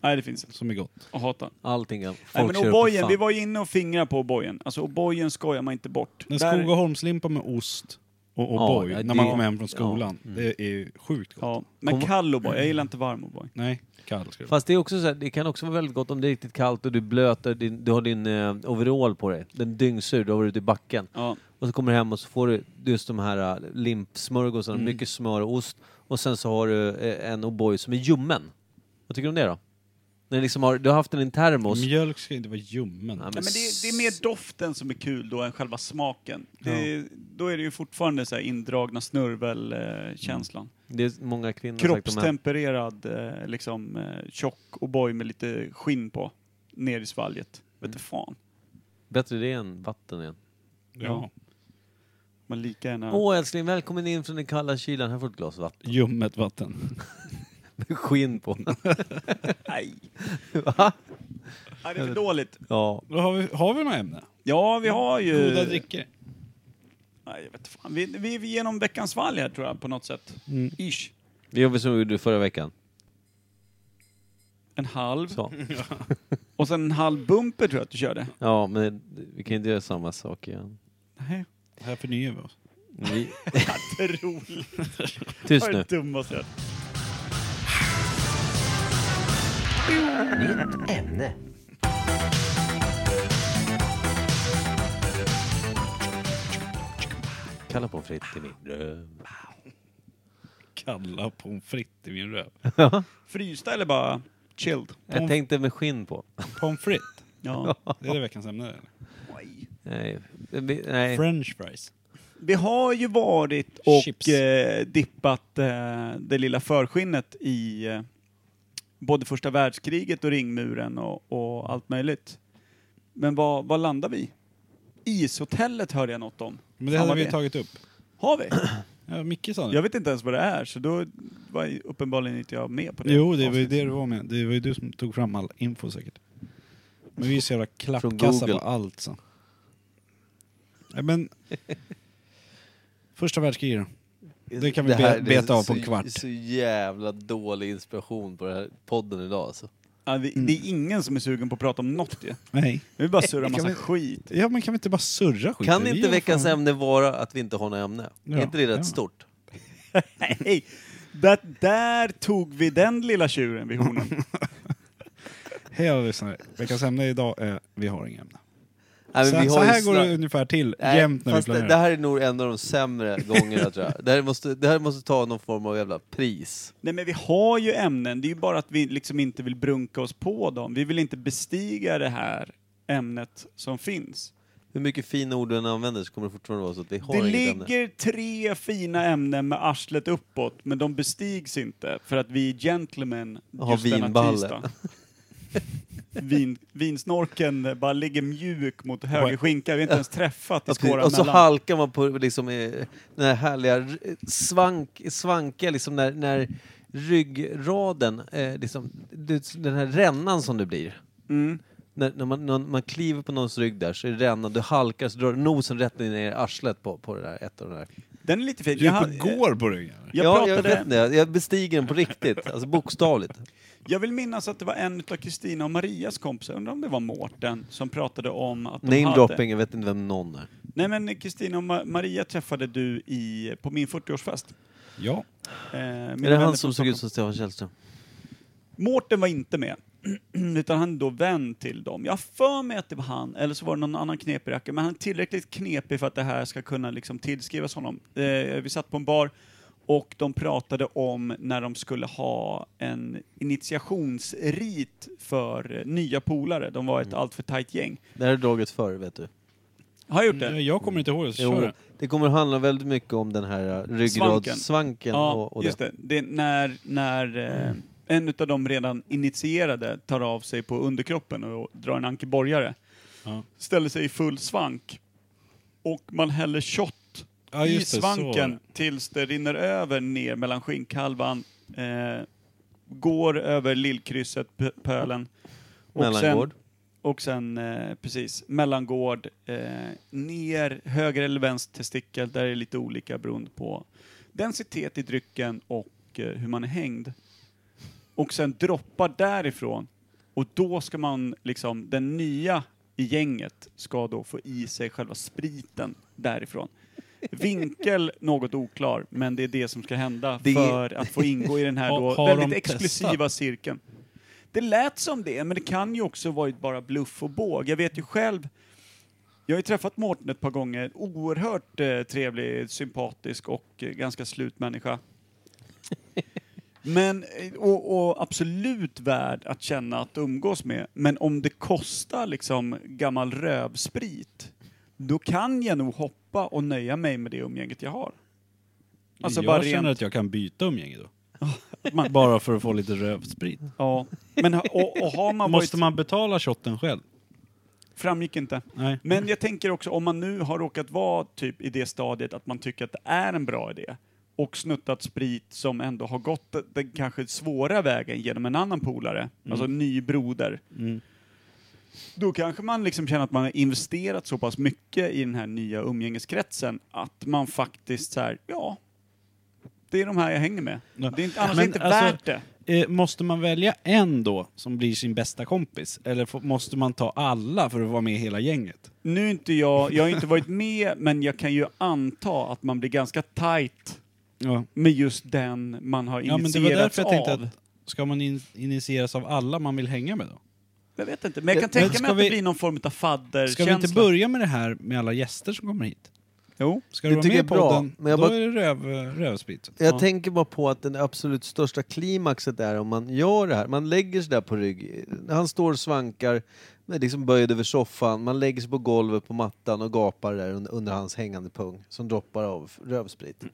Speaker 3: Nej, det finns inte.
Speaker 2: som är gott?
Speaker 3: Jag hatar den.
Speaker 1: Allting kan folk
Speaker 3: Nej, men
Speaker 1: kör upp för
Speaker 3: O'boyen,
Speaker 1: fan.
Speaker 3: vi var ju inne och fingrade på O'boyen. Alltså O'boyen skojar man inte bort.
Speaker 2: En
Speaker 3: Där-
Speaker 2: Skogaholmslimpa med ost och
Speaker 1: Ja,
Speaker 2: O'boy
Speaker 1: ja,
Speaker 2: när man
Speaker 1: det-
Speaker 2: kommer hem från
Speaker 1: ja. mm.
Speaker 2: skolan. Det är ju sjukt gott.
Speaker 3: Ja, men kall O'boy. Jag gillar inte varm O'boy.
Speaker 2: Nej, kall ska det vara.
Speaker 1: Fast det är också så här, det kan också vara väldigt gott om det är riktigt kallt och du blöter, din, du har din eh, overall på dig. Den är dyngsur, du har varit ute i backen.
Speaker 3: Ja.
Speaker 1: Och så kommer du hem och så får du just de här eh, limpsmörgåsarna,
Speaker 3: Mm.
Speaker 1: mycket smör och ost. Och sen så har du eh, en O'boy som är ljummen. Vad tycker du om det då? Den liksom har, du har haft den i en termos.
Speaker 3: Mm.
Speaker 2: Mjölk ska inte vara ljummen.
Speaker 1: Ja,
Speaker 3: Nej, men det, det är mer doften som är kul då än själva smaken. Det, Då är det ju fortfarande så här indragna snörvelkänslan.
Speaker 1: Det är många kvinnor har sagt Mm. de här.
Speaker 3: Kroppstempererad, eh, liksom eh, tjock O'boy med lite skinn på. Ner i svalget.
Speaker 1: Mm.
Speaker 3: Vet du fan.
Speaker 1: Bättre det än vatten igen.
Speaker 2: Ja.
Speaker 3: Man lika gärna...
Speaker 1: Åh älskling, välkommen in från den kalla kylan. Här får du ett glas vatten. [LAUGHS]
Speaker 2: Ljummet vatten.
Speaker 1: Med skinn på.
Speaker 3: Nej.
Speaker 1: [LAUGHS] Va?
Speaker 3: Nej, det är för dåligt.
Speaker 1: Ja.
Speaker 2: Då har vi, har vi några ämne?
Speaker 3: Ja, vi har ju...
Speaker 2: Goda drycker.
Speaker 3: Nej, jag vet fan. Vi, vi är genom veckans svalg här tror jag på något sätt.
Speaker 1: Mm.
Speaker 3: Ish.
Speaker 1: Det gör vi som vi gjorde förra veckan.
Speaker 3: En halv.
Speaker 1: Så.
Speaker 3: Och sen en halv bumper tror jag att du körde.
Speaker 1: Ja, men vi kan inte göra samma sak igen. [LAUGHS]
Speaker 3: Nej. [LAUGHS]
Speaker 2: Här förnyar vi oss.
Speaker 1: Vi...
Speaker 3: Otroligt. Det
Speaker 1: Tyst
Speaker 3: var
Speaker 1: nu.
Speaker 3: det dummaste jag hört.
Speaker 1: Kalla på fritt i min dröm.
Speaker 2: Kalla pommes frites i min röv.
Speaker 3: Frysta eller bara chilled?
Speaker 1: Jag tänkte med skinn på.
Speaker 2: Pommes frites?
Speaker 1: [LAUGHS]
Speaker 3: Ja.
Speaker 2: Det är det veckans ämne eller?
Speaker 3: Oj.
Speaker 1: Nej. Vi- Nej.
Speaker 2: French fries.
Speaker 3: Vi har ju varit och
Speaker 2: Chips.
Speaker 3: eh, dippat eh, det lilla förskinnet i eh, både första världskriget och ringmuren och, och allt möjligt. Men vad, vad landar vi? Ishotellet hörde jag något om.
Speaker 2: Men det hade
Speaker 3: Fan, vad
Speaker 2: vi
Speaker 3: det-
Speaker 2: tagit upp.
Speaker 3: Har vi?
Speaker 2: Ja, Micke sa det.
Speaker 3: Jag vet inte ens vad det är, så då var ju uppenbarligen inte jag med på det.
Speaker 2: Jo, det var ju
Speaker 3: avsnittet.
Speaker 2: det du var med. Det var ju du som tog fram all info säkert. Men vi är så jävla klappkassa
Speaker 1: Google.
Speaker 2: på allt så. Nej, men... Första världskriget då? Det kan vi be-
Speaker 1: det är
Speaker 2: beta av på en
Speaker 1: så-
Speaker 2: kvart.
Speaker 1: Så jävla dålig inspiration på den här podden idag alltså.
Speaker 3: Ja, vi,
Speaker 2: Mm.
Speaker 3: det är ingen som är sugen på att prata om något ju.
Speaker 2: Nej.
Speaker 3: Vi
Speaker 2: [LAUGHS]
Speaker 3: bara surrar massa
Speaker 2: vi-
Speaker 3: skit. [LAUGHS]
Speaker 2: Ja, men kan vi inte bara surra skiten?
Speaker 1: Kan
Speaker 2: Vi
Speaker 1: inte
Speaker 2: är
Speaker 1: veckans
Speaker 2: fan-
Speaker 1: ämne vara att vi inte har något ämne?
Speaker 2: Ja,
Speaker 1: är inte det rätt
Speaker 2: ja.
Speaker 1: stort?
Speaker 3: Nej, där, där tog vi den lilla tjuren vid hornen.
Speaker 2: [LAUGHS] Hej alla lyssnare. Veckans ämne idag är Vi har inga ämnen.
Speaker 1: Nej,
Speaker 2: så,
Speaker 1: men vi
Speaker 2: så
Speaker 1: har ju
Speaker 2: här går
Speaker 1: snack-
Speaker 2: det ungefär till
Speaker 1: Nej,
Speaker 2: jämt när vi
Speaker 1: fast det,
Speaker 2: planerar.
Speaker 1: det här är nog en av de sämre gångerna tror jag. Det här, måste, det här måste ta någon form av jävla pris.
Speaker 3: Nej men vi har ju ämnen, det är ju bara att vi liksom inte vill brunka oss på dem. Vi vill inte bestiga det här ämnet som finns.
Speaker 1: Hur mycket fina ord du än använder så kommer det fortfarande vara så att vi har
Speaker 3: det
Speaker 1: inget ämne.
Speaker 3: ligger tre fina ämnen med arslet uppåt, men de bestigs inte för att vi är gentlemen
Speaker 1: Och har
Speaker 3: just denna
Speaker 1: vinballe.
Speaker 3: tisdag. [LAUGHS] Vin, vinsnorken bara ligger mjuk mot höger skinka, vi har inte ens träffat i
Speaker 1: Och, så-
Speaker 3: skåran
Speaker 1: Alltså, och så
Speaker 3: mellan.
Speaker 1: halkar man på liksom, eh, den här härliga r- svank, svankiga, liksom när, när ryggraden, eh, liksom, du- den här rännan som det blir.
Speaker 3: Mm.
Speaker 1: när, när man, när man kliver på någons rygg där så är det rännan, du halkar så drar du nosen rätt ner i arslet på, på det där, ett av de där.
Speaker 3: Den är lite fin.
Speaker 2: Du är
Speaker 3: hade-
Speaker 2: på går på ryggen? eller?
Speaker 3: jag,
Speaker 1: ja, jag
Speaker 3: pratade,
Speaker 1: vet
Speaker 3: jag,
Speaker 1: inte, jag bestiger den på riktigt, alltså bokstavligt.
Speaker 3: vill minnas att det var en av Kristina och Marias kompisar, undrar om det var Mårten, som pratade om att de
Speaker 1: Name
Speaker 3: hade...
Speaker 1: dropping, jag vet inte vem någon är.
Speaker 3: Nej men Kristina och Ma- Maria träffade du i, på min 40-årsfest.
Speaker 2: Ja.
Speaker 3: Eh,
Speaker 1: Är det han som såg ut som Stefan Källström?
Speaker 3: Mårten var inte med. [CLEARS THROAT] Utan han är då vän till dem. Jag har för mig att det var han, eller så var det någon annan knepig rackare. Men han är tillräckligt knepig för att det här ska kunna liksom tillskrivas honom. Eh, vi satt på en bar och de pratade om när de skulle ha en initiationsrit för eh, nya polare. De var ett alltför tajt gäng.
Speaker 1: Det här är draget förr, vet du.
Speaker 3: Har jag gjort det?
Speaker 2: Mm, Jag, jag kommer inte ihåg det, så kör
Speaker 1: Jo,
Speaker 2: det.
Speaker 1: det kommer handla väldigt mycket om den här eh, ryggradssvanken
Speaker 3: Ja,
Speaker 1: och, och det.
Speaker 3: just det. det är när när eh, en av de redan initierade tar av sig på underkroppen och drar en ankeborgare.
Speaker 2: Ja.
Speaker 3: Ställer sig i full svank. Och man häller shot
Speaker 2: Ja,
Speaker 3: i
Speaker 2: just det, så var
Speaker 3: svanken
Speaker 2: det.
Speaker 3: tills det rinner över ner mellan skinkhalvan. Eh, går över lillkrysset, p- pölen. Och
Speaker 1: Mellangård.
Speaker 3: Sen, och sen, eh, precis, mellangård, eh, ner, höger eller vänster testikel, där är det lite olika beroende på densitet i drycken och eh, hur man är hängd. Och sen droppar därifrån, och då ska man liksom, den nya i gänget ska då få i sig själva spriten därifrån. Vinkel något oklar, men det är det som ska hända
Speaker 1: Det-
Speaker 3: för att få ingå i den här
Speaker 2: Har-
Speaker 3: då
Speaker 2: har de
Speaker 3: väldigt
Speaker 2: testat?
Speaker 3: exklusiva cirkeln. Det lät som det, men det kan ju också varit bara bluff och båg. Jag vet ju själv, jag har ju träffat Mårten ett par gånger, oerhört eh, trevlig, sympatisk och eh, ganska
Speaker 2: [LAUGHS]
Speaker 3: slut människa. Men, eh, och, och absolut värd att känna att umgås med, men om det kostar liksom gammal rövsprit, då kan jag nog hoppa och nöja mig med det umgänget jag har. Alltså
Speaker 2: jag
Speaker 3: bara
Speaker 2: känner
Speaker 3: rent,
Speaker 2: att jag kan byta umgänge [LAUGHS] då.
Speaker 3: man,
Speaker 2: Bara för att få lite rövsprit.
Speaker 3: ja. Men, ha- och, och har man varit,
Speaker 2: Måste man betala shotten själv?
Speaker 3: framgick inte.
Speaker 2: Nej.
Speaker 3: Men jag tänker också om man nu har råkat vara typ i det stadiet att man tycker att det är en bra idé och snuttat sprit som ändå har gått den kanske svåra vägen genom en annan polare, alltså en ny broder.
Speaker 2: Mm.
Speaker 3: Då kanske man liksom känner att man har investerat så pass mycket i den här nya umgängeskretsen att man faktiskt så här, ja, det är de här jag hänger med.
Speaker 2: Ja.
Speaker 3: Det är inte, annars
Speaker 2: Men
Speaker 3: är det inte
Speaker 2: alltså-
Speaker 3: värt det.
Speaker 2: Eh, måste man välja en då som blir sin bästa kompis? Eller får, måste man ta alla för att vara med i hela gänget?
Speaker 3: Nu är inte jag, jag har inte varit med, men jag kan ju anta att man blir ganska tight
Speaker 2: Ja,
Speaker 3: med just den man har
Speaker 2: ja men
Speaker 3: initierats
Speaker 2: det var därför jag tänkte
Speaker 3: av.
Speaker 2: att ska man in, initieras av alla man vill hänga med då?
Speaker 3: Jag vet inte, men jag kan
Speaker 2: Men
Speaker 3: tänka
Speaker 2: ska
Speaker 3: mig att det
Speaker 2: vi-
Speaker 3: blir någon form av
Speaker 2: Ska
Speaker 3: fadderkänsla.
Speaker 2: vi inte börja med det här med alla gäster som kommer hit?
Speaker 3: Jo.
Speaker 2: Ska
Speaker 1: Det
Speaker 2: du vara
Speaker 1: tycker
Speaker 2: med i
Speaker 1: jag är bra,
Speaker 2: podden,
Speaker 1: men jag
Speaker 2: då
Speaker 1: bara-
Speaker 2: är det röv, rövsprit.
Speaker 1: Jag
Speaker 3: Ja.
Speaker 1: tänker bara på att den absolut största klimaxet är om man gör det här. Man lägger sig där på rygg. Han står och svankar, men liksom böjd över soffan. Man lägger sig på golvet på mattan och gapar där under, under hans hängande pung som droppar av
Speaker 2: [LAUGHS]
Speaker 1: rövsprit.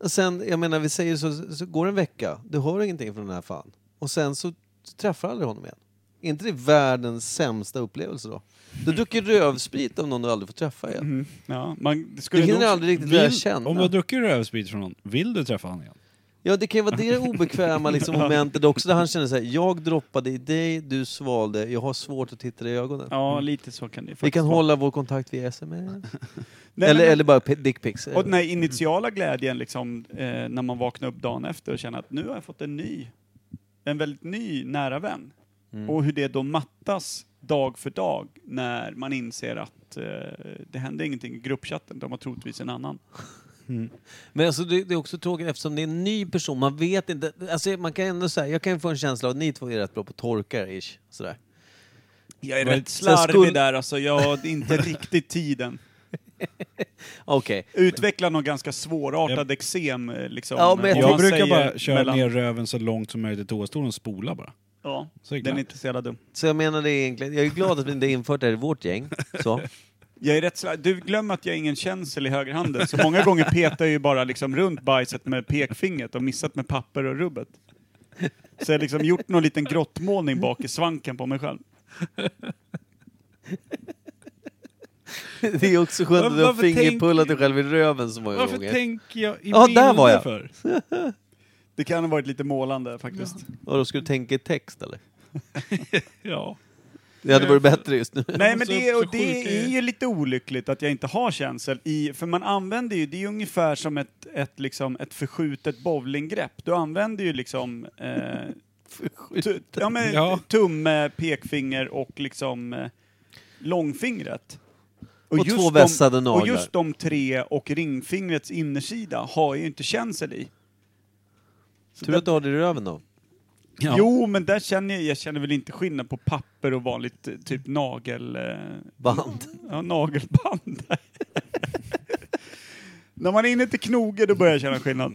Speaker 1: Och sen, jag menar, vi säger så, så går det en vecka. Du hör ingenting från den här fan. Och sen så träffar du aldrig honom igen. Är inte det världens sämsta upplevelse då? Du dricker rövsprit av någon du aldrig får träffa igen.
Speaker 2: Mm,
Speaker 3: Ja, man det
Speaker 1: Du
Speaker 3: skulle nog...
Speaker 1: hinner aldrig riktigt lära
Speaker 2: Vill,
Speaker 1: känna.
Speaker 2: om du har druckit rövsprit från någon, vill du träffa honom igen?
Speaker 1: Ja, det kan ju vara det
Speaker 3: [LAUGHS]
Speaker 1: obekväma liksom, momentet också, där han känner så här, jag droppade i dig, du svalde, jag har svårt att titta dig i ögonen.
Speaker 3: Ja, lite så kan det
Speaker 1: Vi
Speaker 3: faktiskt
Speaker 1: kan
Speaker 3: vara.
Speaker 1: hålla vår kontakt via sms.
Speaker 3: Nej,
Speaker 1: eller,
Speaker 3: men-
Speaker 1: eller bara pe- dickpics.
Speaker 3: Och den här initiala glädjen liksom, eh, när man vaknar upp dagen efter och känner att nu har jag fått en ny, en väldigt ny nära vän.
Speaker 1: Mm.
Speaker 3: Och hur det då mattas dag för dag när man inser att eh, det händer ingenting i gruppchatten, de har troligtvis en annan.
Speaker 1: Men alltså, det, det är också tråkigt eftersom det är en ny person, man vet inte. Alltså, man kan ändå säga, jag kan ju få en känsla av att ni två är rätt bra på att torka er, ish. Sådär.
Speaker 3: Jag är
Speaker 1: Var
Speaker 3: rätt
Speaker 1: det- sen
Speaker 3: slarvig
Speaker 1: skulle-
Speaker 3: där alltså, jag det är [LAUGHS] inte riktigt tiden.
Speaker 1: Okej.
Speaker 3: Utveckla någon ganska svårartad eksem eh, liksom.
Speaker 1: Ja, men jag
Speaker 3: eh,
Speaker 2: Jag
Speaker 3: om man
Speaker 2: brukar
Speaker 3: säger
Speaker 2: bara köra
Speaker 3: mellan-
Speaker 2: ner röven så långt som möjligt i toastolen och spola bara.
Speaker 3: Ja,
Speaker 2: Så är det
Speaker 3: den är
Speaker 2: klart.
Speaker 3: inte så jävla dum.
Speaker 1: Så jag menar det egentligen, jag är glad att vi inte har infört det här i vårt gäng.
Speaker 3: [LAUGHS]
Speaker 1: Så.
Speaker 3: Jag är rätt sla- Du glömmer att jag har ingen känsel i högerhanden, så många gånger petar jag ju bara liksom runt bajset med pekfingret och missat med papper och rubbet. Så jag har liksom gjort någon liten grottmålning bak i svanken på mig själv.
Speaker 1: Det är också skönt att du har
Speaker 2: Varför tänk-
Speaker 1: fingerpullat dig själv i röven så många
Speaker 2: Varför
Speaker 1: gånger.
Speaker 2: tänker jag i
Speaker 1: Ja, där
Speaker 2: bilder
Speaker 1: var jag.
Speaker 2: för?
Speaker 3: Det kan ha varit lite målande faktiskt.
Speaker 1: Och då ska du tänka i text eller?
Speaker 2: Ja.
Speaker 1: Det hade varit bättre just
Speaker 3: [LAUGHS]
Speaker 1: nu. [LAUGHS]
Speaker 3: Nej men
Speaker 2: måste
Speaker 3: det,
Speaker 2: upp
Speaker 3: och
Speaker 2: så sjuka
Speaker 3: det
Speaker 2: i-
Speaker 3: är ju lite olyckligt att jag inte har känsel i, för man använder ju, det är ju ungefär som ett, ett, liksom, ett förskjutet bowlinggrepp. Du använder ju liksom
Speaker 1: [LAUGHS]
Speaker 3: eh, tu, ja, men,
Speaker 2: Ja.
Speaker 3: tumme, pekfinger och liksom eh, långfingret.
Speaker 1: Och två
Speaker 3: de-
Speaker 1: vässade naglar.
Speaker 3: Och just de tre och ringfingrets innersida har jag ju inte känsel i. Så
Speaker 1: Tur att du har det i röven då.
Speaker 2: Ja.
Speaker 3: Jo, men där känner jag, jag känner väl inte skillnad på papper och vanligt eh, typ nagel... eh,
Speaker 1: Band. [LAUGHS]
Speaker 3: Ja, nagelband. När man är inne till knoge då börjar jag känna skillnad.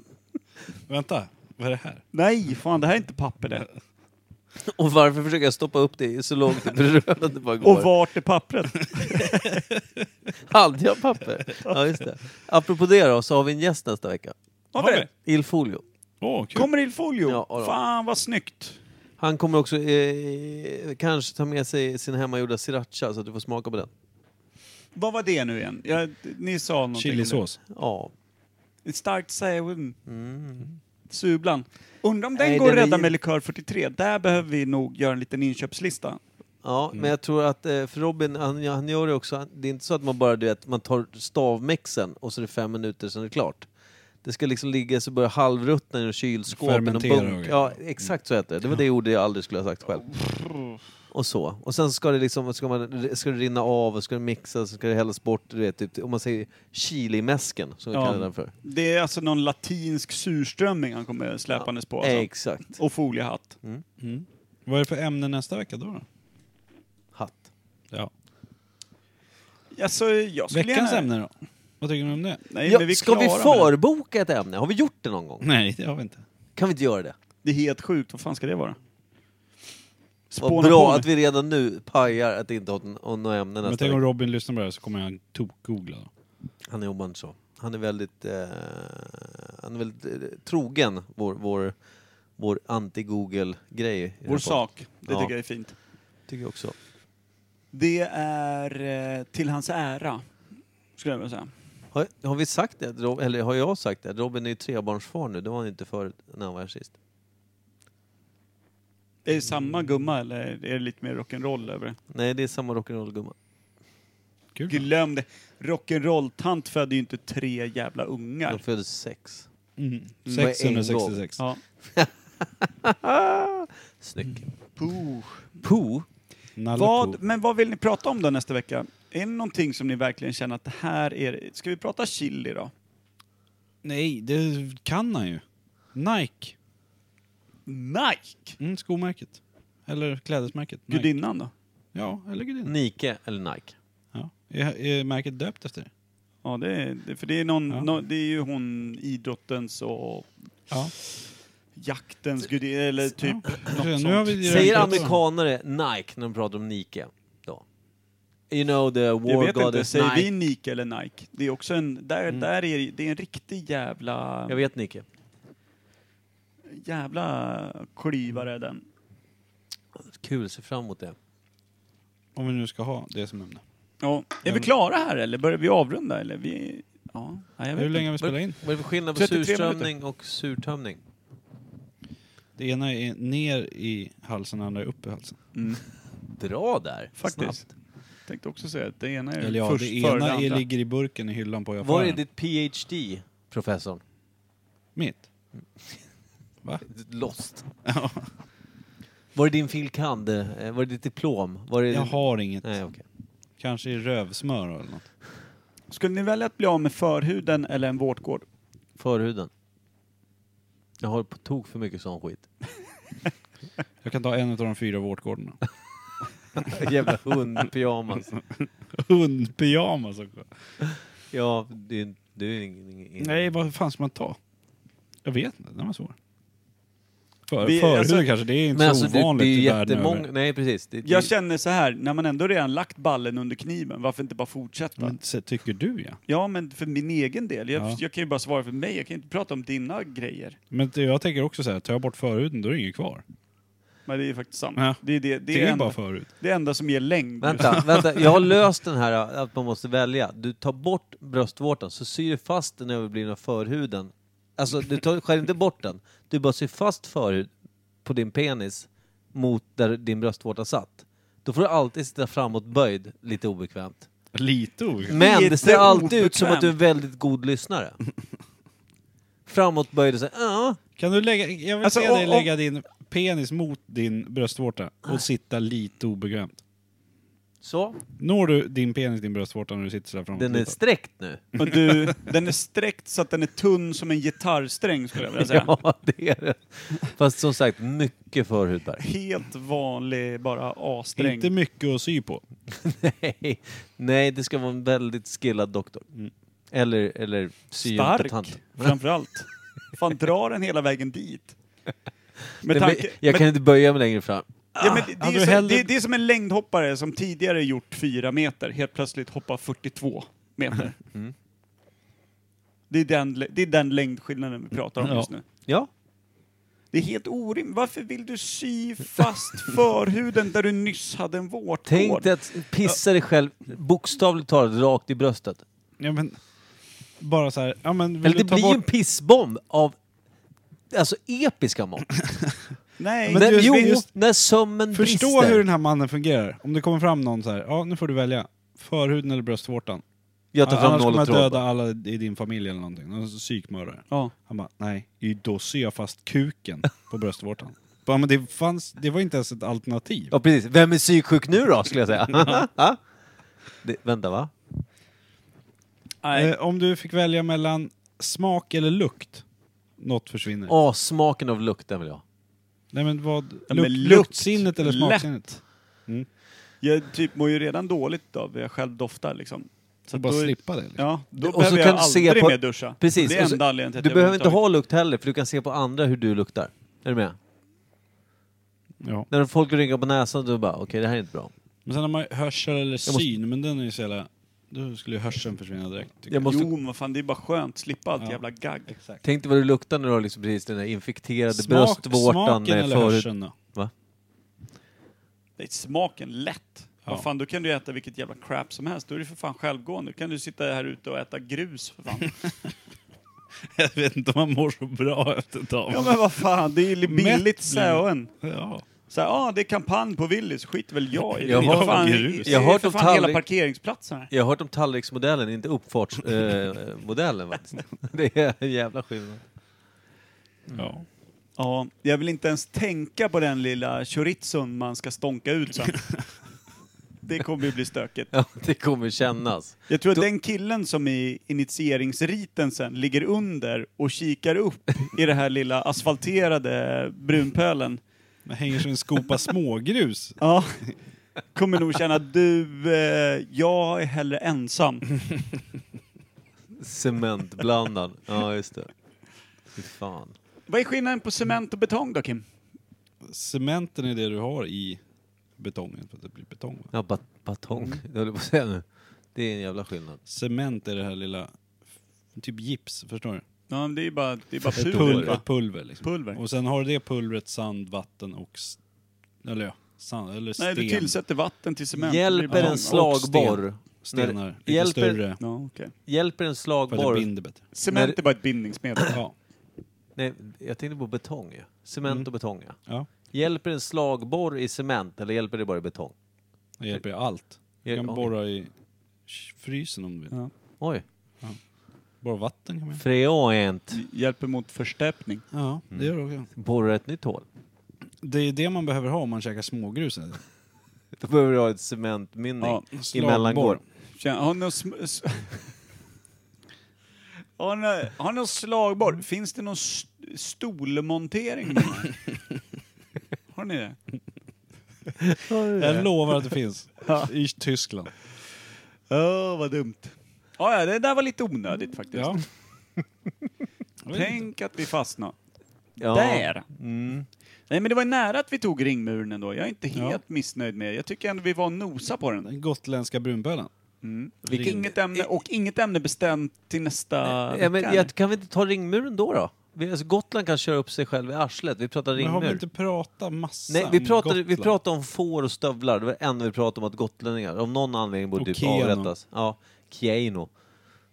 Speaker 2: Vänta, vad är det här?
Speaker 3: Nej, fan det här är inte papper det.
Speaker 1: Och varför försöker jag stoppa upp det så långt upp i röven det bara går?
Speaker 3: Och vart är pappret?
Speaker 2: [LAUGHS]
Speaker 1: Hade jag papper? Ja, just det. Apropå det då, så har vi en gäst nästa vecka.
Speaker 3: Har vi det?
Speaker 1: Il Folio.
Speaker 2: Åh, kul.
Speaker 3: Kommer Ilfolio?
Speaker 1: Ja, ja.
Speaker 3: Fan vad snyggt.
Speaker 1: Han kommer också eh, kanske ta med sig sin hemmagjorda sriracha så att du får smaka på den.
Speaker 3: Vad var det nu igen? Jag, ni sa någonting. om
Speaker 2: Chilisås.
Speaker 1: Ja.
Speaker 3: det. Starkt säven. Sulan. Undrar om den
Speaker 1: Mm. Nej,
Speaker 3: går att
Speaker 1: den är
Speaker 3: rädda
Speaker 1: ju-
Speaker 3: med likör 43. Där behöver vi nog göra en liten inköpslista.
Speaker 1: Ja,
Speaker 3: Mm.
Speaker 1: men jag tror att eh, för Robin, han, han gör det också. Han- Det är inte så att man bara du vet, man tar stavmixen och så är det fem minuter sen är det klart. Det ska liksom ligga så börjar halvruttna i kylskåpen och
Speaker 2: Fermentera och
Speaker 1: bunk.
Speaker 2: grejer.
Speaker 1: Ja, exakt så heter det. Det var det ordet jag aldrig skulle ha sagt själv. Och så. Och sen ska det liksom, ska, man, ska det rinna av och ska det mixas och ska det hällas bort, du vet, typ, om man säger chilimäsken som vi
Speaker 3: Ja.
Speaker 1: kallar den för.
Speaker 3: Det är alltså någon latinsk surströmming han kommer släpandes på. Alltså.
Speaker 1: Exakt.
Speaker 3: Och foliehatt.
Speaker 2: Vad är det för ämne nästa vecka då? då?
Speaker 1: Hatt.
Speaker 2: Ja.
Speaker 3: Alltså, jag skulle
Speaker 2: Veckans
Speaker 3: gärna...
Speaker 2: ämne då? Vad tycker ni om det?
Speaker 3: Nej,
Speaker 1: Ja,
Speaker 3: men vi är
Speaker 1: ska vi
Speaker 3: klara med det.
Speaker 1: förboka ett ämne? Har vi gjort det någon gång?
Speaker 2: Nej, det har vi inte.
Speaker 1: Kan vi inte göra det?
Speaker 3: Det är helt sjukt, vad fan ska det vara?
Speaker 1: Vad bra att vi redan nu pajar att det inte har något ämne
Speaker 2: Men
Speaker 1: nästa
Speaker 2: tänk om
Speaker 1: vecka.
Speaker 2: Robin lyssnar på det här så kommer han tok-googla. då.
Speaker 1: Han är omöjlig så. Han är väldigt, eh, han är väldigt eh, trogen vår, vår, vår anti-Google-grej. i den
Speaker 3: Vår
Speaker 1: här
Speaker 3: sak, det
Speaker 1: Ja.
Speaker 3: tycker jag är fint.
Speaker 1: podden. Tycker jag också.
Speaker 3: Det är eh, till hans ära, skulle jag vilja säga.
Speaker 1: Har, har vi sagt det? Rob- Eller har jag sagt det? Robin är ju trebarnsfar nu. Det var han inte förut när han var här sist.
Speaker 3: Är det samma gumma eller är det lite mer rock'n'roll över det?
Speaker 1: Nej, det är samma rock'n'roll-gumma.
Speaker 2: Kul.
Speaker 3: Glöm det! Rock'n'roll-tant födde ju inte tre jävla ungar.
Speaker 1: De föddes
Speaker 3: [LAUGHS]
Speaker 1: sex.
Speaker 2: Mm.
Speaker 1: Mm.
Speaker 2: 666.
Speaker 3: Ja.
Speaker 1: Snyggt.
Speaker 3: Puh.
Speaker 1: Pooh.
Speaker 2: Nalle
Speaker 3: Vad,
Speaker 2: Po.
Speaker 3: men vad vill ni prata om då nästa vecka? Är det någonting som ni verkligen känner att det här är... Ska vi prata chili då?
Speaker 2: Nej, det kan han ju. Nike.
Speaker 3: Nike!
Speaker 2: Mm, skomärket. Eller klädesmärket. Nike.
Speaker 3: Gudinnan då?
Speaker 2: Ja, eller gudinna.
Speaker 1: Nike eller Nike?
Speaker 2: Ja. Är, är märket döpt efter det?
Speaker 3: Ja, det är, det- för det är, någon,
Speaker 2: Ja.
Speaker 3: nå- det är ju hon idrottens och
Speaker 2: Ja.
Speaker 3: jaktens gudinna, eller typ
Speaker 2: Så nu
Speaker 3: något
Speaker 2: har
Speaker 3: sånt.
Speaker 2: vi-
Speaker 1: Säger
Speaker 2: rätt.
Speaker 1: amerikanare Nike när de pratar om Nike? Då. You know the
Speaker 3: Jag
Speaker 1: war
Speaker 3: vet
Speaker 1: god
Speaker 3: inte,
Speaker 1: is
Speaker 3: säger
Speaker 1: Nike.
Speaker 3: vi Nike eller Nike? Det är också en, där,
Speaker 2: Mm.
Speaker 3: där är det- det är en riktig jävla,
Speaker 1: Jag vet Nike.
Speaker 3: jävla klyvare den.
Speaker 1: Kul, ser fram emot det.
Speaker 2: Om vi nu ska ha det som ämne.
Speaker 3: Ja. Är vi
Speaker 2: men-
Speaker 3: klara här eller börjar vi avrunda eller? Vi, ja, nej, jag vet
Speaker 2: Hur länge
Speaker 3: inte.
Speaker 2: har vi spelat in?
Speaker 1: Vad är det för skillnad på
Speaker 3: 33
Speaker 1: surströmming och surtömning?
Speaker 2: Det ena är ner i halsen, det andra är upp i halsen.
Speaker 1: Bra där!
Speaker 3: Mm, Faktiskt.
Speaker 1: Snabbt.
Speaker 3: Tänkte också säga att det ena är
Speaker 2: Eller ja,
Speaker 3: först
Speaker 2: det
Speaker 3: före det
Speaker 2: ena är,
Speaker 3: andra.
Speaker 2: ligger i burken i hyllan på
Speaker 1: Var är
Speaker 2: affären.
Speaker 1: ditt PhD, professorn?
Speaker 2: Mitt?
Speaker 1: Lost. Var är din fil. kand? Eh, Var är ditt diplom? Var är
Speaker 2: Jag
Speaker 1: din-
Speaker 2: har inget.
Speaker 1: Nej, okej.
Speaker 2: Kanske i rövsmör eller något.
Speaker 3: Skulle ni välja att bli av med förhuden eller en vårtgård?
Speaker 1: Förhuden. Jag har på tok för mycket sån
Speaker 2: [LAUGHS]
Speaker 1: skit.
Speaker 2: Jag kan ta en av de fyra [LAUGHS] vårtgårdarna.
Speaker 1: Jävla hundpyjamas.
Speaker 2: Hundpyjamas också.
Speaker 1: Ja, det är, det är ingen... ingen-
Speaker 2: Nej, vad fan ska man ta? Jag vet inte, den var svår. För,
Speaker 3: Vi-
Speaker 2: förhud
Speaker 3: alltså-
Speaker 2: kanske, det är inte
Speaker 1: Men
Speaker 2: så
Speaker 1: alltså, det, det
Speaker 2: ovanligt
Speaker 1: är
Speaker 2: i
Speaker 1: ju
Speaker 2: världen
Speaker 1: jättemånga...
Speaker 2: över.
Speaker 1: Nej, precis. Det, det,
Speaker 3: Jag känner så här, när man ändå redan lagt ballen under kniven, varför inte bara fortsätta?
Speaker 2: Men, så, tycker du ja.
Speaker 3: Ja, men för min egen del. Jag,
Speaker 2: Mm. Ja.
Speaker 3: jag kan ju bara svara för mig, jag kan ju inte prata om dina grejer.
Speaker 2: Men det- jag tänker också så här, tar jag bort förhuden då är det inget kvar.
Speaker 3: Men det är ju faktiskt sant.
Speaker 2: Ja.
Speaker 3: Det är det, det,
Speaker 2: Det är
Speaker 3: är
Speaker 2: ju
Speaker 3: enda,
Speaker 2: bara förhud.
Speaker 3: det enda som ger längd.
Speaker 1: Vänta,
Speaker 3: [LAUGHS]
Speaker 1: vänta. Jag har löst den här att man måste välja. Du tar bort bröstvårtan, så syr du fast den överblivna förhuden. Alltså, du tar, skär inte bort den. Du bara syr fast förhud på din penis mot där din bröstvårta satt. Då får du alltid sitta framåtböjd, lite obekvämt.
Speaker 2: Lite obekvämt.
Speaker 1: Men
Speaker 3: Lite
Speaker 1: det ser alltid ut som
Speaker 3: obekvämt.
Speaker 1: att du är en väldigt god lyssnare. Framåtböjd och så, ja.
Speaker 2: Kan du lägga, jag vill
Speaker 3: Alltså,
Speaker 2: se
Speaker 3: om-
Speaker 2: dig
Speaker 3: om-
Speaker 2: lägga din penis mot din bröstvårta
Speaker 1: Ah.
Speaker 2: och sitta lite obekvämt.
Speaker 1: Så.
Speaker 2: Når du din penis din bröstvårta när du sitter sådär framåt?
Speaker 1: Den är sträckt nu.
Speaker 3: Och du, den är sträckt så att den är tunn som en gitarrsträng skulle jag
Speaker 2: [LAUGHS]
Speaker 3: vilja säga.
Speaker 1: [LAUGHS] Ja, det är det. Fast som sagt, mycket förhudvärk.
Speaker 3: Helt vanlig bara A-sträng.
Speaker 2: Inte mycket att sy på.
Speaker 1: Nej. Nej, det ska vara en väldigt skillad doktor. Mm. Eller, eller
Speaker 3: Stark,
Speaker 1: syontant.
Speaker 3: framförallt. Fan, drar den hela
Speaker 2: [LAUGHS]
Speaker 3: vägen dit? Med tanke,
Speaker 1: Jag
Speaker 3: med-
Speaker 1: kan inte böja mig längre fram.
Speaker 3: ja, men det, det,
Speaker 2: hade
Speaker 3: är
Speaker 2: du
Speaker 3: som,
Speaker 2: hellre-
Speaker 3: det, det är som en längdhoppare som tidigare gjort fyra meter, helt plötsligt hoppar 42
Speaker 1: [LAUGHS]
Speaker 3: meter.
Speaker 1: Mm.
Speaker 3: Det, är den, det är den längdskillnaden vi pratar om
Speaker 2: Ja.
Speaker 3: just nu.
Speaker 1: Ja,
Speaker 3: Det är helt orimligt. Varför vill du
Speaker 1: [LAUGHS]
Speaker 3: sy fast förhuden där du nyss hade en vårtåd?
Speaker 1: tänk dig att pissa dig själv bokstavligt talat rakt i bröstet.
Speaker 2: Ja, men, bara så här, ja men vill
Speaker 1: Eller
Speaker 2: du
Speaker 1: det
Speaker 2: ta
Speaker 1: blir ju en
Speaker 2: bort...
Speaker 1: pissbomb av alltså episka
Speaker 2: [CLEARS THROAT]
Speaker 1: mått.
Speaker 3: Nej,
Speaker 2: Men
Speaker 1: Men
Speaker 2: just-
Speaker 1: jo,
Speaker 2: just-
Speaker 1: när
Speaker 3: Mm.
Speaker 1: sömmen
Speaker 2: Förstå
Speaker 1: brister.
Speaker 2: hur den här mannen fungerar. Om det kommer fram någon så här, ja nu får du välja. Förhuden eller bröstvårtan.
Speaker 1: Jag tar fram
Speaker 2: Annars
Speaker 1: noll
Speaker 2: kommer
Speaker 1: och
Speaker 2: jag döda
Speaker 1: tråd.
Speaker 2: alla i din familj eller någonting. Någon psykmördare.
Speaker 3: Ja.
Speaker 2: Han bara, nej, då syr jag fast kuken på bröstvårtan. Bara, men det, fanns, det var inte ens ett alternativ.
Speaker 1: Ja, precis. Vem är psyksjuk nu då, skulle jag
Speaker 2: [LAUGHS]
Speaker 1: säga. [LAUGHS] Ja. det, vänta, va?
Speaker 3: Nej.
Speaker 2: Eh, om du fick välja mellan smak eller lukt, något försvinner.
Speaker 1: Åh, smaken av lukten vill jag ha.
Speaker 2: Nej men vad,
Speaker 3: Ja,
Speaker 2: luk,
Speaker 3: men lukt.
Speaker 2: luktsinnet eller
Speaker 3: Lätt.
Speaker 2: smaksinnet?
Speaker 3: Jag typ mår ju redan dåligt av vad jag själv doftar liksom.
Speaker 2: Så bara
Speaker 3: då är-
Speaker 2: slippa det. Liksom.
Speaker 3: Ja, då
Speaker 1: Och så
Speaker 3: behöver
Speaker 1: kan
Speaker 3: jag
Speaker 1: du se
Speaker 3: aldrig
Speaker 1: på-
Speaker 3: mer duscha.
Speaker 1: Precis.
Speaker 3: Det är
Speaker 1: Och så-
Speaker 3: enda anledningen till att
Speaker 1: Du
Speaker 3: jag
Speaker 1: behöver inte
Speaker 3: överhuvudtaget-
Speaker 1: ha lukt heller, för du kan se på andra hur du luktar. Är du med?
Speaker 2: Ja.
Speaker 1: När folk rynkar på näsan, då bara okej, det här är inte bra.
Speaker 2: Men sen har man ju hörsel eller syn,
Speaker 1: måste-
Speaker 2: men den är ju så jävla... Då skulle ju hörseln försvinna direkt. tycker
Speaker 1: Jag måste,
Speaker 3: Jo, men vad fan det är bara skönt. Slippa allt
Speaker 2: Ja.
Speaker 3: jävla gagg.
Speaker 1: Tänk dig vad du luktar när du har liksom precis den där infekterade
Speaker 2: Smak-
Speaker 1: bröstvårtan.
Speaker 2: smaken
Speaker 1: Smaken
Speaker 2: eller hörseln då?
Speaker 3: Det är smaken lätt.
Speaker 2: Ja.
Speaker 3: Vad fan, då kan du äta vilket jävla crap som helst. Då är det för fan självgående. Då kan du sitta här ute och äta grus för fan.
Speaker 2: [LAUGHS] Jag vet inte om man mår så bra efter ett tag.
Speaker 3: [LAUGHS] ja men vad fan, det är ju
Speaker 2: Mätt
Speaker 3: billigt säger en.
Speaker 2: Ja.
Speaker 3: Så här, ah, det är kampanj på Willys, skit väl jag i.
Speaker 1: Jag
Speaker 3: Det är
Speaker 1: har-
Speaker 3: för fan,
Speaker 2: grus.
Speaker 3: det
Speaker 1: Jag
Speaker 3: är
Speaker 1: har hört
Speaker 3: för
Speaker 1: om
Speaker 3: fan hela
Speaker 1: tallrik-
Speaker 3: parkeringsplatsen här.
Speaker 1: Jag har hört om tallriksmodellen, inte uppfartsmodellen
Speaker 2: [LAUGHS]
Speaker 1: eh, modellen faktiskt. Det är en jävla skillnad.
Speaker 2: ja.
Speaker 3: Ja, jag vill inte ens tänka på den lilla chorizon man ska stånka
Speaker 1: [LAUGHS]
Speaker 3: ut sen. Det kommer ju bli stökigt.
Speaker 1: Ja, det kommer kännas.
Speaker 3: Jag tror att den killen som i initieringsriten sen ligger under och kikar upp i det här lilla asfalterade brunpölen.
Speaker 2: Man hänger som en skopa smågrus.
Speaker 3: Ja. [LAUGHS] Kommer nog känna du, eh, jag är hellre ensam.
Speaker 1: Cementblandad. Ja, just det. Fy fan.
Speaker 3: Vad är skillnaden på cement och betong då Kim?
Speaker 2: Cementen är det du har i betongen för att det blir betong. Va?
Speaker 1: Ja, bat batong. Det höll jag på att säga nu. Det är en jävla skillnad.
Speaker 2: Mm. Cement är det här lilla, typ gips, förstår du?
Speaker 3: Ja, men det är ju bara, det är bara
Speaker 2: Ett
Speaker 3: pulver.
Speaker 2: pulver.
Speaker 3: va?
Speaker 2: Ett pulver, liksom.
Speaker 3: Pulver.
Speaker 2: Och sen har du det pulvret, sand, vatten och... s- Eller ja, sand, eller sten.
Speaker 3: Nej, du tillsätter vatten till cement. Det blir
Speaker 1: Hjälper en
Speaker 3: betong.
Speaker 1: slagborr?
Speaker 2: Stenar,
Speaker 1: när-
Speaker 2: lite
Speaker 1: hjälper-
Speaker 2: större.
Speaker 3: Ja, okej.
Speaker 1: Hjälper en
Speaker 2: För att det
Speaker 1: slagborr?
Speaker 2: binder bättre.
Speaker 1: När-
Speaker 3: Cement är bara ett [CLEARS THROAT] bindningsmedel.
Speaker 2: Ja.
Speaker 1: Nej, jag tänkte på betong. ja. Cement och betong, ja.
Speaker 2: Mm. ja.
Speaker 1: Hjälper en slagborr i cement eller hjälper det bara i betong?
Speaker 2: Det hjälper ju allt. Du
Speaker 1: Ja,
Speaker 2: kan
Speaker 1: oj.
Speaker 2: borra i sh- frysen om du vill.
Speaker 3: Ja.
Speaker 1: Oj.
Speaker 2: Borra vatten kan man göra.
Speaker 1: Freant.
Speaker 3: Det Hjälper mot förstäpning.
Speaker 2: Ja, Mm. det gör du också.
Speaker 1: Borra ett nytt hål.
Speaker 2: Det är det man behöver ha om man käkar smågrus. eller?
Speaker 1: Då behöver du ha ett cementmynning
Speaker 3: Ja,
Speaker 1: i
Speaker 2: slagborr.
Speaker 1: mellangård.
Speaker 3: Tjena, har ni någon sm- s- Har ni, har ni någon slagborr? Finns det någon st-
Speaker 1: [LAUGHS]
Speaker 3: stolmontering? med den här? har ni det?
Speaker 2: Jag lovar att det finns. I Tyskland.
Speaker 3: Åh, vad dumt. Ja, ja, det där var lite onödigt faktiskt.
Speaker 2: Ja.
Speaker 3: Tänk att vi fastnade.
Speaker 1: Ja.
Speaker 3: Där!
Speaker 1: Mm.
Speaker 3: Nej, men det var nära att vi tog ringmuren ändå. Jag är inte helt
Speaker 2: Ja.
Speaker 3: missnöjd med Jag tycker ändå vi var och nosa på den.
Speaker 2: Den gotländska brunbölan.
Speaker 3: Mm.
Speaker 1: Vilken-
Speaker 3: Inget ämne, och inget ämne bestämt till nästa
Speaker 1: Ja, men
Speaker 3: vecka.
Speaker 1: jag, kan vi inte ta ringmuren då? då? Vi, alltså Gotland kan köra upp sig själv i arslet. Vi pratar
Speaker 2: Men har vi
Speaker 1: ringmur.
Speaker 2: inte pratat massa
Speaker 1: Nej, vi
Speaker 2: om
Speaker 1: pratade, vi
Speaker 2: Gotland?
Speaker 1: pratade om får och stövlar. typ Det var det enda vi pratade om, att gotlänningar av någon anledning borde
Speaker 2: Och
Speaker 1: typ
Speaker 2: Keno.
Speaker 1: avrättas. Ja, Keino.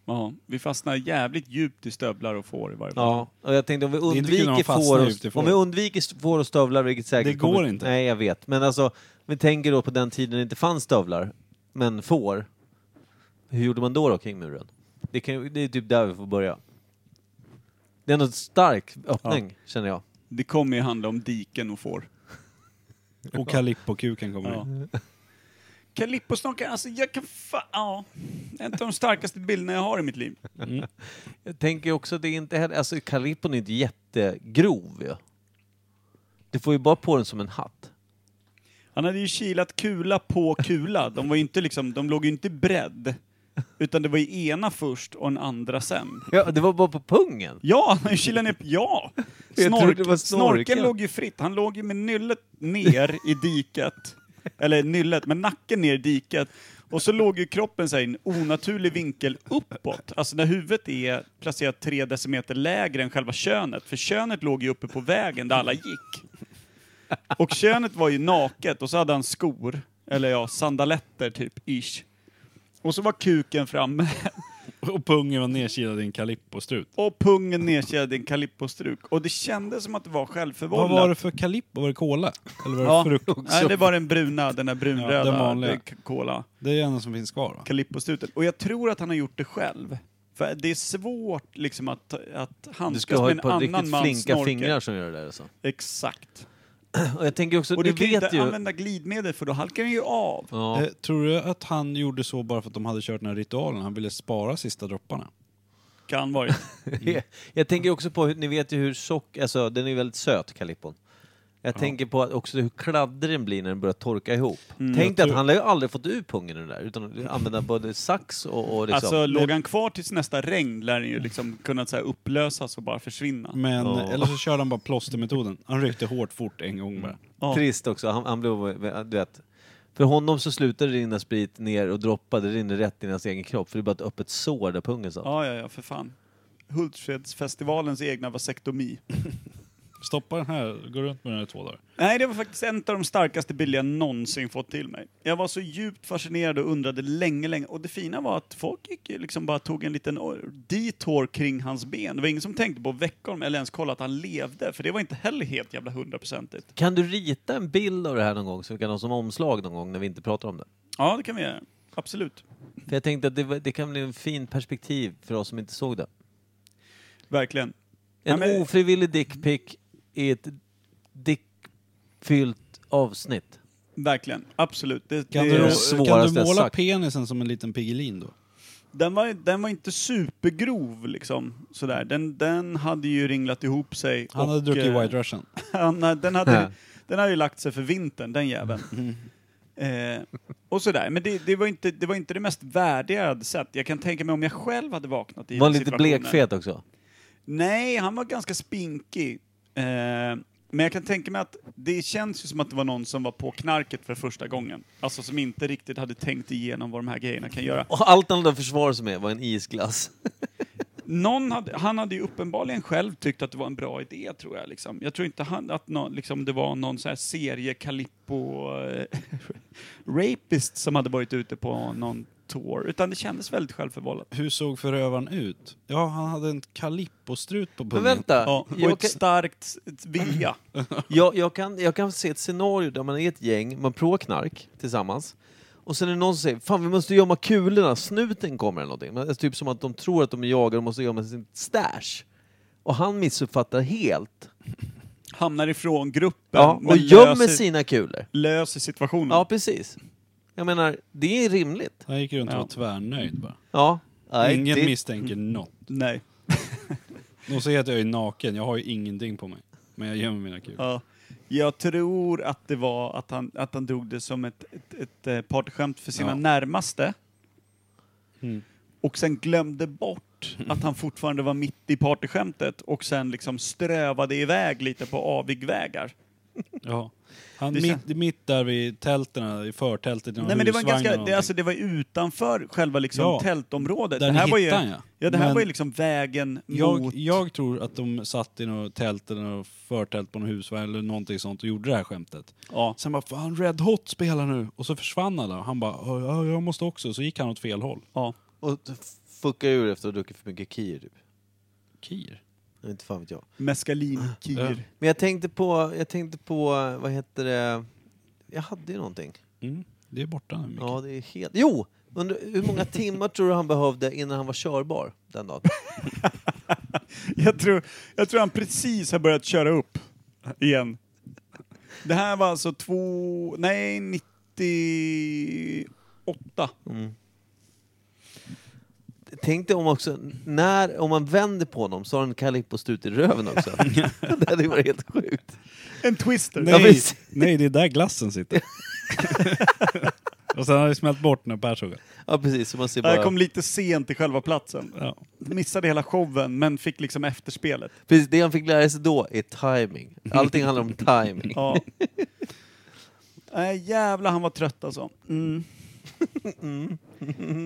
Speaker 3: Ja, vi fastnar jävligt djupt i stövlar och får i varje fall.
Speaker 1: Ja, och jag tänkte om vi
Speaker 2: är inte kul när
Speaker 1: undviker
Speaker 2: de fastnar
Speaker 1: får
Speaker 2: ute i
Speaker 1: och,
Speaker 2: får.
Speaker 1: om vi undviker st- får och stövlar, vilket säkert
Speaker 2: Det går
Speaker 1: kommer-
Speaker 2: inte.
Speaker 1: Nej, jag vet. Men alltså, om vi tänker då på den tiden det inte fanns stövlar, men får. Hur gjorde man då då kring muren? Det, kan, ju- det är typ där vi får börja. Det är ändå en stark öppning, känner jag.
Speaker 3: Det kommer ju handla om diken och får.
Speaker 2: Och Calippo-kuken kommer
Speaker 3: Ja.
Speaker 2: in.
Speaker 3: Kalipposnokar, alltså jag kan fa- ja. En av de starkaste bilderna jag har i mitt liv.
Speaker 1: Jag tänker också att det är inte heller... Alltså, kalippon är inte jättegrov ju. Du får ju bara på den som en hatt.
Speaker 3: Han hade ju kilat kula på kula. De var ju inte liksom, de låg ju inte i bredd. Utan det var ju ena först och en andra sen.
Speaker 1: Ja, det var bara på pungen!
Speaker 3: Ja, [LAUGHS] han kilade ner, ja!
Speaker 1: [LAUGHS] Jag trodde det var
Speaker 3: Snork,
Speaker 1: snorken.
Speaker 3: snorken låg ju fritt. Han låg ju med nyllet ner i
Speaker 1: [LAUGHS]
Speaker 3: diket. Eller nyllet, men nacken ner i diket. Och så låg ju kroppen så här, i en onaturlig vinkel uppåt. Alltså när huvudet är placerat tre decimeter lägre än själva könet. För könet låg ju uppe på vägen där alla gick. Och könet var ju naket och så hade han skor. Eller ja, sandaletter typ, ish. Och så var kuken framme.
Speaker 2: Och pungen var nerkilad i en Calippo-strut.
Speaker 3: och pungen nedkedjad i en kalippostruk. Och det kändes som att det var självförvållat.
Speaker 2: Vad var det för Calippo? Var det Cola? Eller var det
Speaker 3: Ja.
Speaker 2: frukt?
Speaker 3: Nej, det var den bruna, den där brunröda
Speaker 2: Ja, den vanliga.
Speaker 3: k- cola,
Speaker 2: Det är ju enda som finns kvar va?
Speaker 3: kalippostruten. Och jag tror att han har gjort det själv. För det är svårt liksom att, att
Speaker 1: Du
Speaker 3: handskas
Speaker 1: ska ha
Speaker 3: med
Speaker 1: ett
Speaker 3: en
Speaker 1: par
Speaker 3: annan
Speaker 1: riktigt
Speaker 3: mans
Speaker 1: flinka
Speaker 3: snorkel.
Speaker 1: fingrar som gör det där alltså.
Speaker 3: Exakt.
Speaker 1: Och jag tänker också,
Speaker 3: Och
Speaker 1: du
Speaker 3: du kan ju
Speaker 1: vet
Speaker 3: inte
Speaker 1: ju...
Speaker 3: använda glidmedel för då halkar den ju av.
Speaker 1: Ja.
Speaker 2: [LAUGHS] Eh, tror du att han gjorde så bara för att de hade kört den här ritualen? Han ville spara sista dropparna?
Speaker 1: [LAUGHS]
Speaker 3: Kan vara.
Speaker 1: [LAUGHS] Liksom. Jag tänker också på, hur- ni vet ju hur tjock, alltså den är ju väldigt söt, kalippon. Jag tänker på att också hur kladdig den blir när den börjar torka ihop.
Speaker 3: Mm,
Speaker 1: Tänk dig att han har ju aldrig fått ur pungen ur det där, utan använda både sax och, och liksom... [LAUGHS]
Speaker 3: Alltså, låg han kvar tills nästa regn lär den ju liksom kunnat så här, upplösas och bara försvinna.
Speaker 2: Men,
Speaker 1: Ja.
Speaker 2: Eller så körde han bara plåstermetoden. Han ryckte hårt fort en gång bara.
Speaker 3: Ja.
Speaker 1: Trist också, han, han blev, du vet. För honom så slutade det rinna sprit ner och droppade, det rinner rätt in i hans egen kropp, för det är bara ett öppet sår där pungen satt.
Speaker 3: Ja, ja, ja, för fan. Hultsfredsfestivalens egna vasektomi.
Speaker 2: Stoppa den här, gå runt med den här i två dagar.
Speaker 3: Nej, det var faktiskt en av de starkaste bilder jag någonsin fått till mig. Jag var så djupt fascinerad och undrade länge, länge. Och det fina var att folk gick ju liksom bara tog en liten or- detour kring hans ben. Det var ingen som tänkte på att väcka honom eller ens kolla att han levde, för det var inte heller helt jävla hundraprocentigt.
Speaker 1: Kan du rita en bild av det här någon gång, så vi kan ha som omslag någon gång när vi inte pratar om det?
Speaker 3: Ja, det kan vi göra. Absolut.
Speaker 1: För jag tänkte att det, var- det kan bli en fin perspektiv för oss som inte såg det.
Speaker 3: Verkligen.
Speaker 1: En
Speaker 3: Nej, men-
Speaker 1: ofrivillig dickpick i ett dickfyllt avsnitt.
Speaker 3: Verkligen. Absolut. Det,
Speaker 2: Kan,
Speaker 3: det,
Speaker 1: är
Speaker 2: du,
Speaker 1: det
Speaker 2: kan
Speaker 1: svåraste
Speaker 2: du
Speaker 1: jag
Speaker 2: måla
Speaker 1: sagt.
Speaker 2: penisen som en liten pigelin då?
Speaker 3: Den var, den var inte supergrov liksom. Sådär. Den, den hade ju ringlat ihop sig.
Speaker 2: Han hade
Speaker 3: och,
Speaker 2: druckit
Speaker 3: eh,
Speaker 2: White Russian.
Speaker 3: [LAUGHS] Han, hade- den, hade,
Speaker 1: Ja. Mm.
Speaker 3: den hade ju lagt sig för vintern, den jäveln. Eh, och sådär. Men det, det, var inte, det var inte det mest värdiga jag hade sett. Jag kan tänka mig om jag själv hade vaknat i
Speaker 1: Var
Speaker 3: den
Speaker 1: lite
Speaker 3: situationen.
Speaker 1: blekfet också.
Speaker 3: Nej, han var ganska spinkig. Eh, men jag kan tänka mig att det känns ju som att det var någon som var på knarket för första gången. Alltså som inte riktigt hade tänkt igenom vad de här grejerna kan göra.
Speaker 1: Och allt annat försvar som är var en
Speaker 3: [LAUGHS]
Speaker 1: isglass.
Speaker 3: Någon hade, han hade ju uppenbarligen själv tyckt att det var en bra idé, tror jag. Liksom. Jag tror inte han, att nå- liksom, det var någon så här serie Calippo eh, [LAUGHS] rapist som hade varit ute på någon tour, utan det kändes väldigt självförvållat.
Speaker 2: Hur såg förövaren ut? Ja, han hade en Calippo-strut på
Speaker 1: Men
Speaker 2: pungen.
Speaker 1: vänta,
Speaker 3: Ja, och
Speaker 1: jag,
Speaker 3: ett
Speaker 1: kan,
Speaker 3: starkt s- ett vilja.
Speaker 1: jag, jag, kan, jag kan se ett scenario där man är ett gäng, man provar knark tillsammans. Och sen är det någon som säger fan vi måste gömma kulorna, snuten kommer eller någonting. Men det är typ som att de tror att de är jagade och måste gömma sin stash. Och han missuppfattar helt.
Speaker 3: Hamnar ifrån gruppen,
Speaker 1: Ja, och
Speaker 3: men
Speaker 1: gömmer
Speaker 3: löser,
Speaker 1: sina kulor.
Speaker 3: löser situationen.
Speaker 1: Ja, precis. Jag menar, det är rimligt.
Speaker 2: Han gick runt och
Speaker 3: Ja.
Speaker 2: var tvärnöjd bara.
Speaker 1: Ja. Nej,
Speaker 2: Ingen
Speaker 1: det-
Speaker 2: misstänker något.
Speaker 3: Nej.
Speaker 2: De säger att jag är naken, jag har ju ingenting på mig. Men jag gömmer mina kulor.
Speaker 3: Ja. Jag tror att det var att han, att han drog det som ett, ett, ett eh, partyskämt för sina
Speaker 2: Ja.
Speaker 3: närmaste.
Speaker 2: Mm.
Speaker 3: Och sen glömde bort att han fortfarande var mitt i partyskämtet och sen liksom strövade iväg lite på avigvägar.
Speaker 2: Ja. Han
Speaker 3: Det
Speaker 2: mitt,
Speaker 3: kän-
Speaker 2: mitt där vid tälten, i förtältet i någon
Speaker 3: Nej men det var,
Speaker 2: husvagn
Speaker 3: ganska,
Speaker 2: eller
Speaker 3: det, alltså, det var utanför själva liksom
Speaker 2: Ja.
Speaker 3: tältområdet.
Speaker 2: Där
Speaker 3: Det
Speaker 2: ni
Speaker 3: här, var ju,
Speaker 2: hittade han, ja.
Speaker 3: ja. det här
Speaker 2: Men-
Speaker 3: var ju liksom vägen
Speaker 2: jag,
Speaker 3: mot...
Speaker 2: jag tror att de satt i något tält eller något förtält på någon husvagn eller någonting sånt och gjorde det här skämtet.
Speaker 3: Ja.
Speaker 2: Sen bara, fan Red Hot spelar nu! Och så försvann alla och han bara, "Ja, ja, jag måste också. Så gick han åt fel håll.
Speaker 3: Ja.
Speaker 1: Och fuckar ur efter att ha druckit för mycket kir typ.
Speaker 2: Kir?
Speaker 1: Jag vet Inte fan vet jag.
Speaker 2: Ja.
Speaker 3: Mescalinkir.
Speaker 1: Men jag tänkte på, jag tänkte på, vad heter det? Jag hade ju någonting.
Speaker 2: Mm. Det är borta nu Micke.
Speaker 1: Ja, det är helt... Jo! Undrar, hur många timmar tror du han behövde innan han var körbar den dagen?
Speaker 3: [LAUGHS] Jag, tror, jag tror han precis har börjat köra upp igen. Det här var alltså två... Nej, 98.
Speaker 1: Tänk dig om också, när, om man vänder på honom så har han Kalippos ut i röven [LAUGHS] också. det hade ju varit helt sjukt.
Speaker 3: En twister.
Speaker 1: Ja,
Speaker 2: Nej,
Speaker 1: precis.
Speaker 2: nej, det är där
Speaker 1: [LAUGHS]
Speaker 2: glassen sitter. Och sen har det smält bort när Per såg det.
Speaker 1: Ja precis, så man ser
Speaker 3: Det här
Speaker 1: bara...
Speaker 3: kom lite sent till själva platsen.
Speaker 2: Ja.
Speaker 3: Missade hela showen, men fick liksom efterspelet.
Speaker 1: Precis, det han fick lära sig då är timing. Allting handlar om
Speaker 2: [LAUGHS]
Speaker 1: timing.
Speaker 3: Ja. Nej, jävlar han var trött alltså. Mm.
Speaker 2: Mm.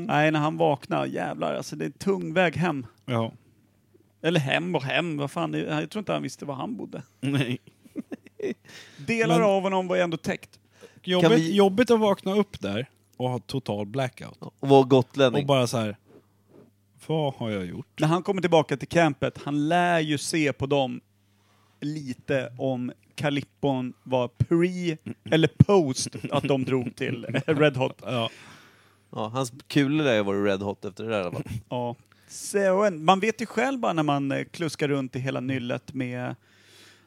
Speaker 3: Nej, när han vaknade, jävlar alltså. Det är tung väg hem.
Speaker 2: Ja.
Speaker 3: Eller hem och hem, vad fan. det- Jag tror inte han visste var han bodde.
Speaker 2: Nej.
Speaker 3: Delar
Speaker 2: Men-
Speaker 3: av honom var ju ändå täckt.
Speaker 2: Jobbigt,
Speaker 1: Kan vi-
Speaker 2: jobbigt att vakna upp där och ha total blackout.
Speaker 1: Och vara
Speaker 2: Och
Speaker 1: gotlänning.
Speaker 2: bara så här. Vad har jag gjort?
Speaker 3: När han kommer tillbaka till campet, han lär ju se på dem lite om Kalippon var pre eller post att de
Speaker 2: [LAUGHS]
Speaker 3: drog till Red Hot.
Speaker 2: Ja.
Speaker 1: Ja, hans kulor lär ju vara red hot efter det där i alla fall.
Speaker 3: Ja. Så, en- man vet ju själv bara när man eh, kluskar runt i hela nyllet med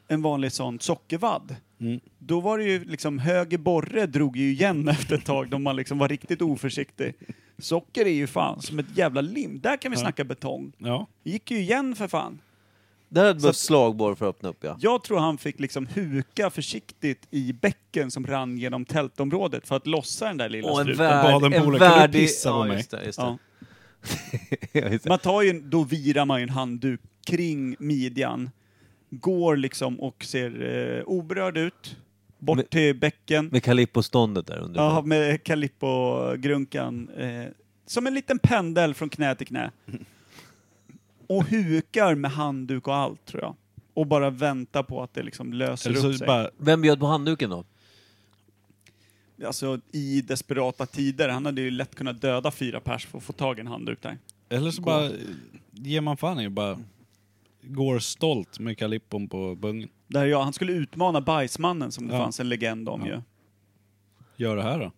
Speaker 3: en vanlig sån sockervadd.
Speaker 2: Mm.
Speaker 3: Då var det ju liksom höger borre drog ju igen [LAUGHS] efter ett tag då man liksom var riktigt oförsiktig. Socker är ju fan som ett jävla lim. Där kan vi
Speaker 2: Ja.
Speaker 3: snacka betong.
Speaker 2: ja.
Speaker 3: gick ju igen för fan.
Speaker 1: Där hade behövt
Speaker 3: att-
Speaker 1: slagborr för att öppna upp ja.
Speaker 3: Jag tror han fick liksom huka försiktigt i bäcken som rann genom tältområdet för att lossa den där lilla
Speaker 1: Och en,
Speaker 3: struten.
Speaker 1: värd,
Speaker 2: baden på
Speaker 1: en
Speaker 2: olika. Kan du
Speaker 1: värdig...
Speaker 2: pissa på
Speaker 1: ja,
Speaker 2: mig?
Speaker 1: Just det, just det.
Speaker 3: Ja.
Speaker 1: Ja, just det. [LAUGHS]
Speaker 3: Man tar ju, en- då virar man ju en handduk kring midjan, går liksom och ser eh, oberörd ut, bort
Speaker 1: Men-
Speaker 3: till bäcken,
Speaker 1: Med Kalippo-ståndet där under.
Speaker 3: ja, med Calippo-grunkan, eh, som en liten pendel från knä till knä. Och hukar med handduk och allt tror jag. Och bara väntar på att det liksom löser
Speaker 2: Eller
Speaker 3: upp
Speaker 2: så
Speaker 3: sig.
Speaker 2: bara,
Speaker 1: Vem bjöd på handduken då?
Speaker 3: alltså, i desperata tider. Han hade ju lätt kunnat döda fyra pers för att få tag i en handduk där.
Speaker 2: eller så bara ger man fan i och bara går stolt med Kalippon på bungen.
Speaker 3: där jag, han skulle utmana Bajsmannen som det
Speaker 2: Ja.
Speaker 3: fanns en legend
Speaker 2: Ja.
Speaker 3: om ju.
Speaker 2: Gör det här då.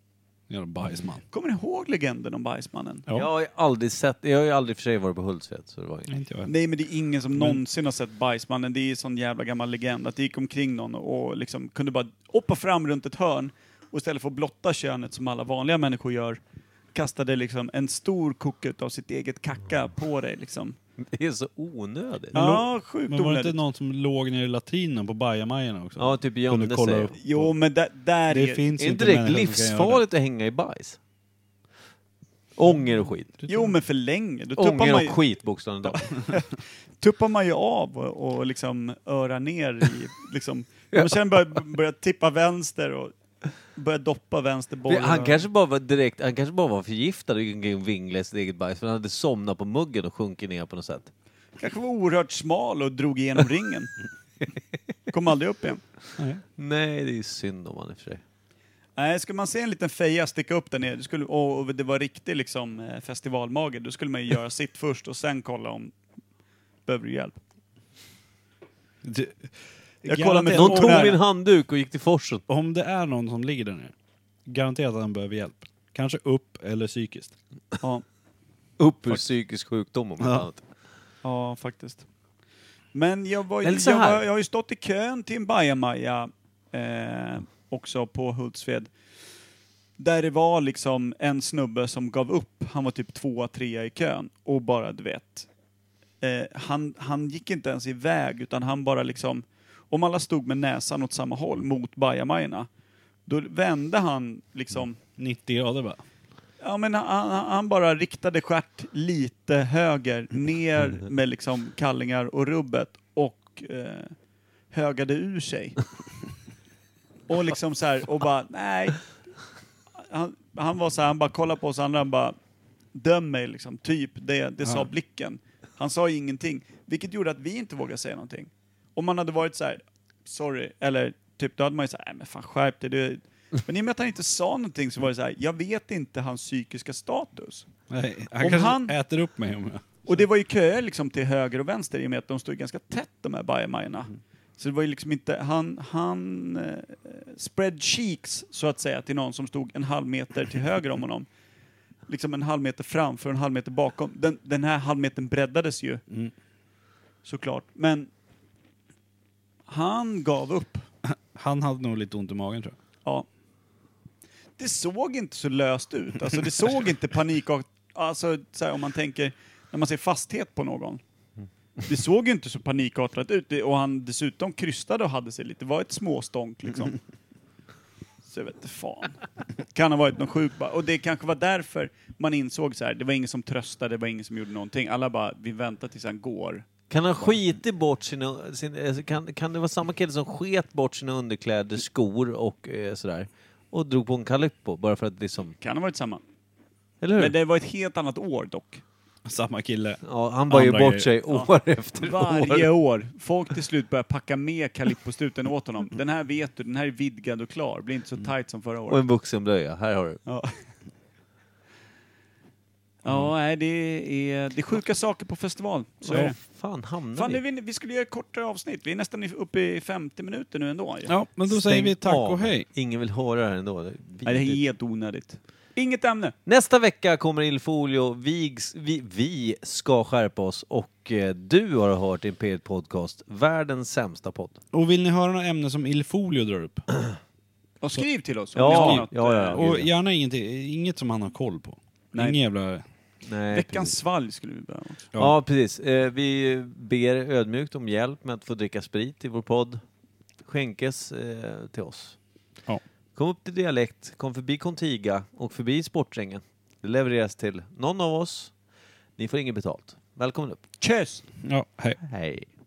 Speaker 2: Jävla bajsman.
Speaker 3: Kommer ni ihåg legenden om Bajsmannen?
Speaker 2: Ja.
Speaker 1: Jag har ju aldrig sett, jag har ju aldrig för sig varit på Hultsfred. Så det var ju...
Speaker 2: Inte jag heller.
Speaker 3: Nej men det är ingen som någonsin har sett Bajsmannen. Det är en sån jävla gammal legend att det gick omkring någon och liksom kunde bara hoppa fram runt ett hörn och istället för att blotta könet som alla vanliga människor gör kastade liksom en stor kokt av sitt eget kacka på dig liksom.
Speaker 2: Mm.
Speaker 1: [LAUGHS] Det är så onödigt. Ja,
Speaker 3: Ja, sjukt
Speaker 2: Men var det inte
Speaker 3: onödigt.
Speaker 2: någon som låg nere i latrinen på bajamajorna också?
Speaker 1: typ
Speaker 2: Kunde
Speaker 1: gömde
Speaker 2: kolla
Speaker 1: sig.
Speaker 2: upp.
Speaker 3: Jo men där, där
Speaker 2: Det
Speaker 3: är...
Speaker 2: finns
Speaker 1: Är inte
Speaker 2: inte
Speaker 1: det
Speaker 2: människor som kan göra det.
Speaker 1: livsfarligt att hänga i bajs? Ånger och skit.
Speaker 3: Jo men för länge. Då tuppar
Speaker 1: Ånger
Speaker 3: man ju,
Speaker 1: och skit bokstavligen talat.
Speaker 3: tuppar man ju av och, och liksom örar ner
Speaker 1: [LAUGHS]
Speaker 3: i, liksom. Man sen börjar, börjar tippa vänster och börjar doppa vänster boll.
Speaker 1: Han kanske bara var direkt, han kanske bara var förgiftad och gick och vinglade i sitt eget bajs. För han hade somnat på muggen och sjunkit ner på något sätt.
Speaker 3: kanske var oerhört smal och drog igenom
Speaker 1: [LAUGHS]
Speaker 3: ringen. Kom aldrig upp igen.
Speaker 2: Nej.
Speaker 1: Nej, det är ju synd om han i och för sig.
Speaker 3: Nej, skulle man se en liten feja sticka upp där nere det skulle, och och det var riktig liksom, eh, festivalmage, då skulle man ju göra sitt först och sen kolla om behöver du hjälp.
Speaker 2: Det-
Speaker 3: Jag kollar med-
Speaker 2: Garanterat-
Speaker 1: Någon tog
Speaker 3: ordnar
Speaker 1: min
Speaker 3: det.
Speaker 1: handduk och gick till forsen.
Speaker 2: Om det är någon som ligger där nere, garanterat att han behöver hjälp. Kanske upp eller psykiskt.
Speaker 3: Ja.
Speaker 1: Upp ur psykisk sjukdom om inte
Speaker 2: Ja.
Speaker 1: annat.
Speaker 3: Ja, faktiskt. Men jag, var,
Speaker 1: Eller så
Speaker 3: jag,
Speaker 1: här.
Speaker 3: var, jag har ju stått i kön till en bajamaja eh, också på Hultsfred. Där det var liksom en snubbe som gav upp. Han var typ tvåa, trea i kön och bara, du vet. Eh, han, han gick inte ens iväg utan han bara liksom, om alla stod med näsan åt samma håll mot bajamajorna, då vände han liksom
Speaker 2: 90 grader bara.
Speaker 3: Ja, men han- han, han bara riktade stjärt lite höger, ner med liksom kallingar och rubbet och eh, högade ur sig. Och liksom så här, och bara nej. Han, han var så här, han bara kollade på oss andra, han bara döm mig liksom, typ det, det sa
Speaker 2: Ja.
Speaker 3: blicken. Han sa ju ingenting, vilket gjorde att vi inte vågade säga någonting. Om man hade varit så här, sorry, eller typ då hade man ju så här, nej men fan skärp dig, du, Men i och med att han inte sa någonting så var det så här, jag vet inte hans psykiska status.
Speaker 2: Nej, han
Speaker 3: Om
Speaker 2: kanske
Speaker 3: han-
Speaker 2: äter upp mig om jag...
Speaker 3: Och det var ju köer liksom till höger och vänster i och med att de stod ganska tätt de här bajamajorna. Så det var ju liksom inte, han, han eh, spread cheeks så att säga till någon som stod en halv meter till höger om honom. Liksom en halv meter framför och en halv meter bakom. Den, den här halvmetern breddades ju.
Speaker 2: Mm.
Speaker 3: Såklart. Men han gav upp.
Speaker 2: Han hade nog lite ont i magen tror jag.
Speaker 3: Ja. Det såg inte så löst ut. Alltså det såg inte panik... Alltså så här, om man tänker, när man ser fasthet på någon. Det såg ju inte så panikartat ut Det- och han dessutom krystade och hade sig lite. Det var ett småstånk liksom. Så jag vet inte fan. Kan ha varit någon sjuk bara. Och det kanske var därför man insåg så här, det var ingen som tröstade, det var ingen som gjorde någonting. Alla bara, vi väntar tills han går.
Speaker 1: Kan han skita bort sina... Sin, alltså, kan, kan det vara samma kille som sket bort sina underkläder, skor och eh, sådär? Och drog på en kalippo bara för att liksom...
Speaker 3: Kan ha varit samma.
Speaker 1: Eller hur?
Speaker 3: Men det var ett helt annat år dock.
Speaker 2: Samma kille.
Speaker 1: Ja, han var ju
Speaker 2: Andra
Speaker 1: bort
Speaker 2: grejer.
Speaker 1: sig år [LAUGHS] efter
Speaker 3: Varje
Speaker 1: år.
Speaker 3: år. Folk till slut börjar packa med Calippo-struten åt honom. Den här vet du, den här är vidgad och klar. Blir inte så tight som förra
Speaker 1: Mm. Och
Speaker 3: året.
Speaker 1: en vuxenblöja. Här har du.
Speaker 3: Ja, ja
Speaker 1: Mm.
Speaker 3: nej, det, är, det är sjuka saker på festival. Så är
Speaker 1: Var
Speaker 3: det.
Speaker 1: fan hamnade
Speaker 3: Fan, nu,
Speaker 1: vi?
Speaker 3: vi, vi skulle göra ett kortare avsnitt. Vi är nästan uppe i 50 minuter nu ändå. ju.
Speaker 2: Ja, men då säger
Speaker 1: Stäng
Speaker 2: vi tack
Speaker 1: av.
Speaker 2: och hej.
Speaker 1: Ingen vill höra det här ändå. Det är
Speaker 3: Nej, det här är
Speaker 1: vidrigt.
Speaker 3: helt onödigt. Inget ämne.
Speaker 1: Nästa vecka kommer Ilfolio. Vi, vi, vi ska skärpa oss och eh, du har hört Imperiet Podcast, världens sämsta podd.
Speaker 2: Och vill ni höra något ämne som Ilfolio drar upp?
Speaker 3: Och skriv till oss. om
Speaker 1: Ja,
Speaker 3: ni har något,
Speaker 1: ja, ja.
Speaker 3: eh,
Speaker 2: Och
Speaker 1: gud,
Speaker 2: gärna ingenting, inget som han har koll på.
Speaker 3: Nej.
Speaker 2: Ingen jävla...
Speaker 1: Nej,
Speaker 3: Veckans
Speaker 1: precis.
Speaker 3: svalg skulle vi behöva. också.
Speaker 1: Ja, precis. Eh, Vi ber ödmjukt om hjälp med att få dricka sprit i vår podd. Skänkes eh, till oss.
Speaker 2: Ja.
Speaker 1: Kom upp till Dialekt, kom förbi Contiga och förbi Sportsängen. Det levereras till någon av oss. Ni får inget betalt. Välkommen upp.
Speaker 3: Tjöss!
Speaker 2: Ja, hej.
Speaker 1: Hej.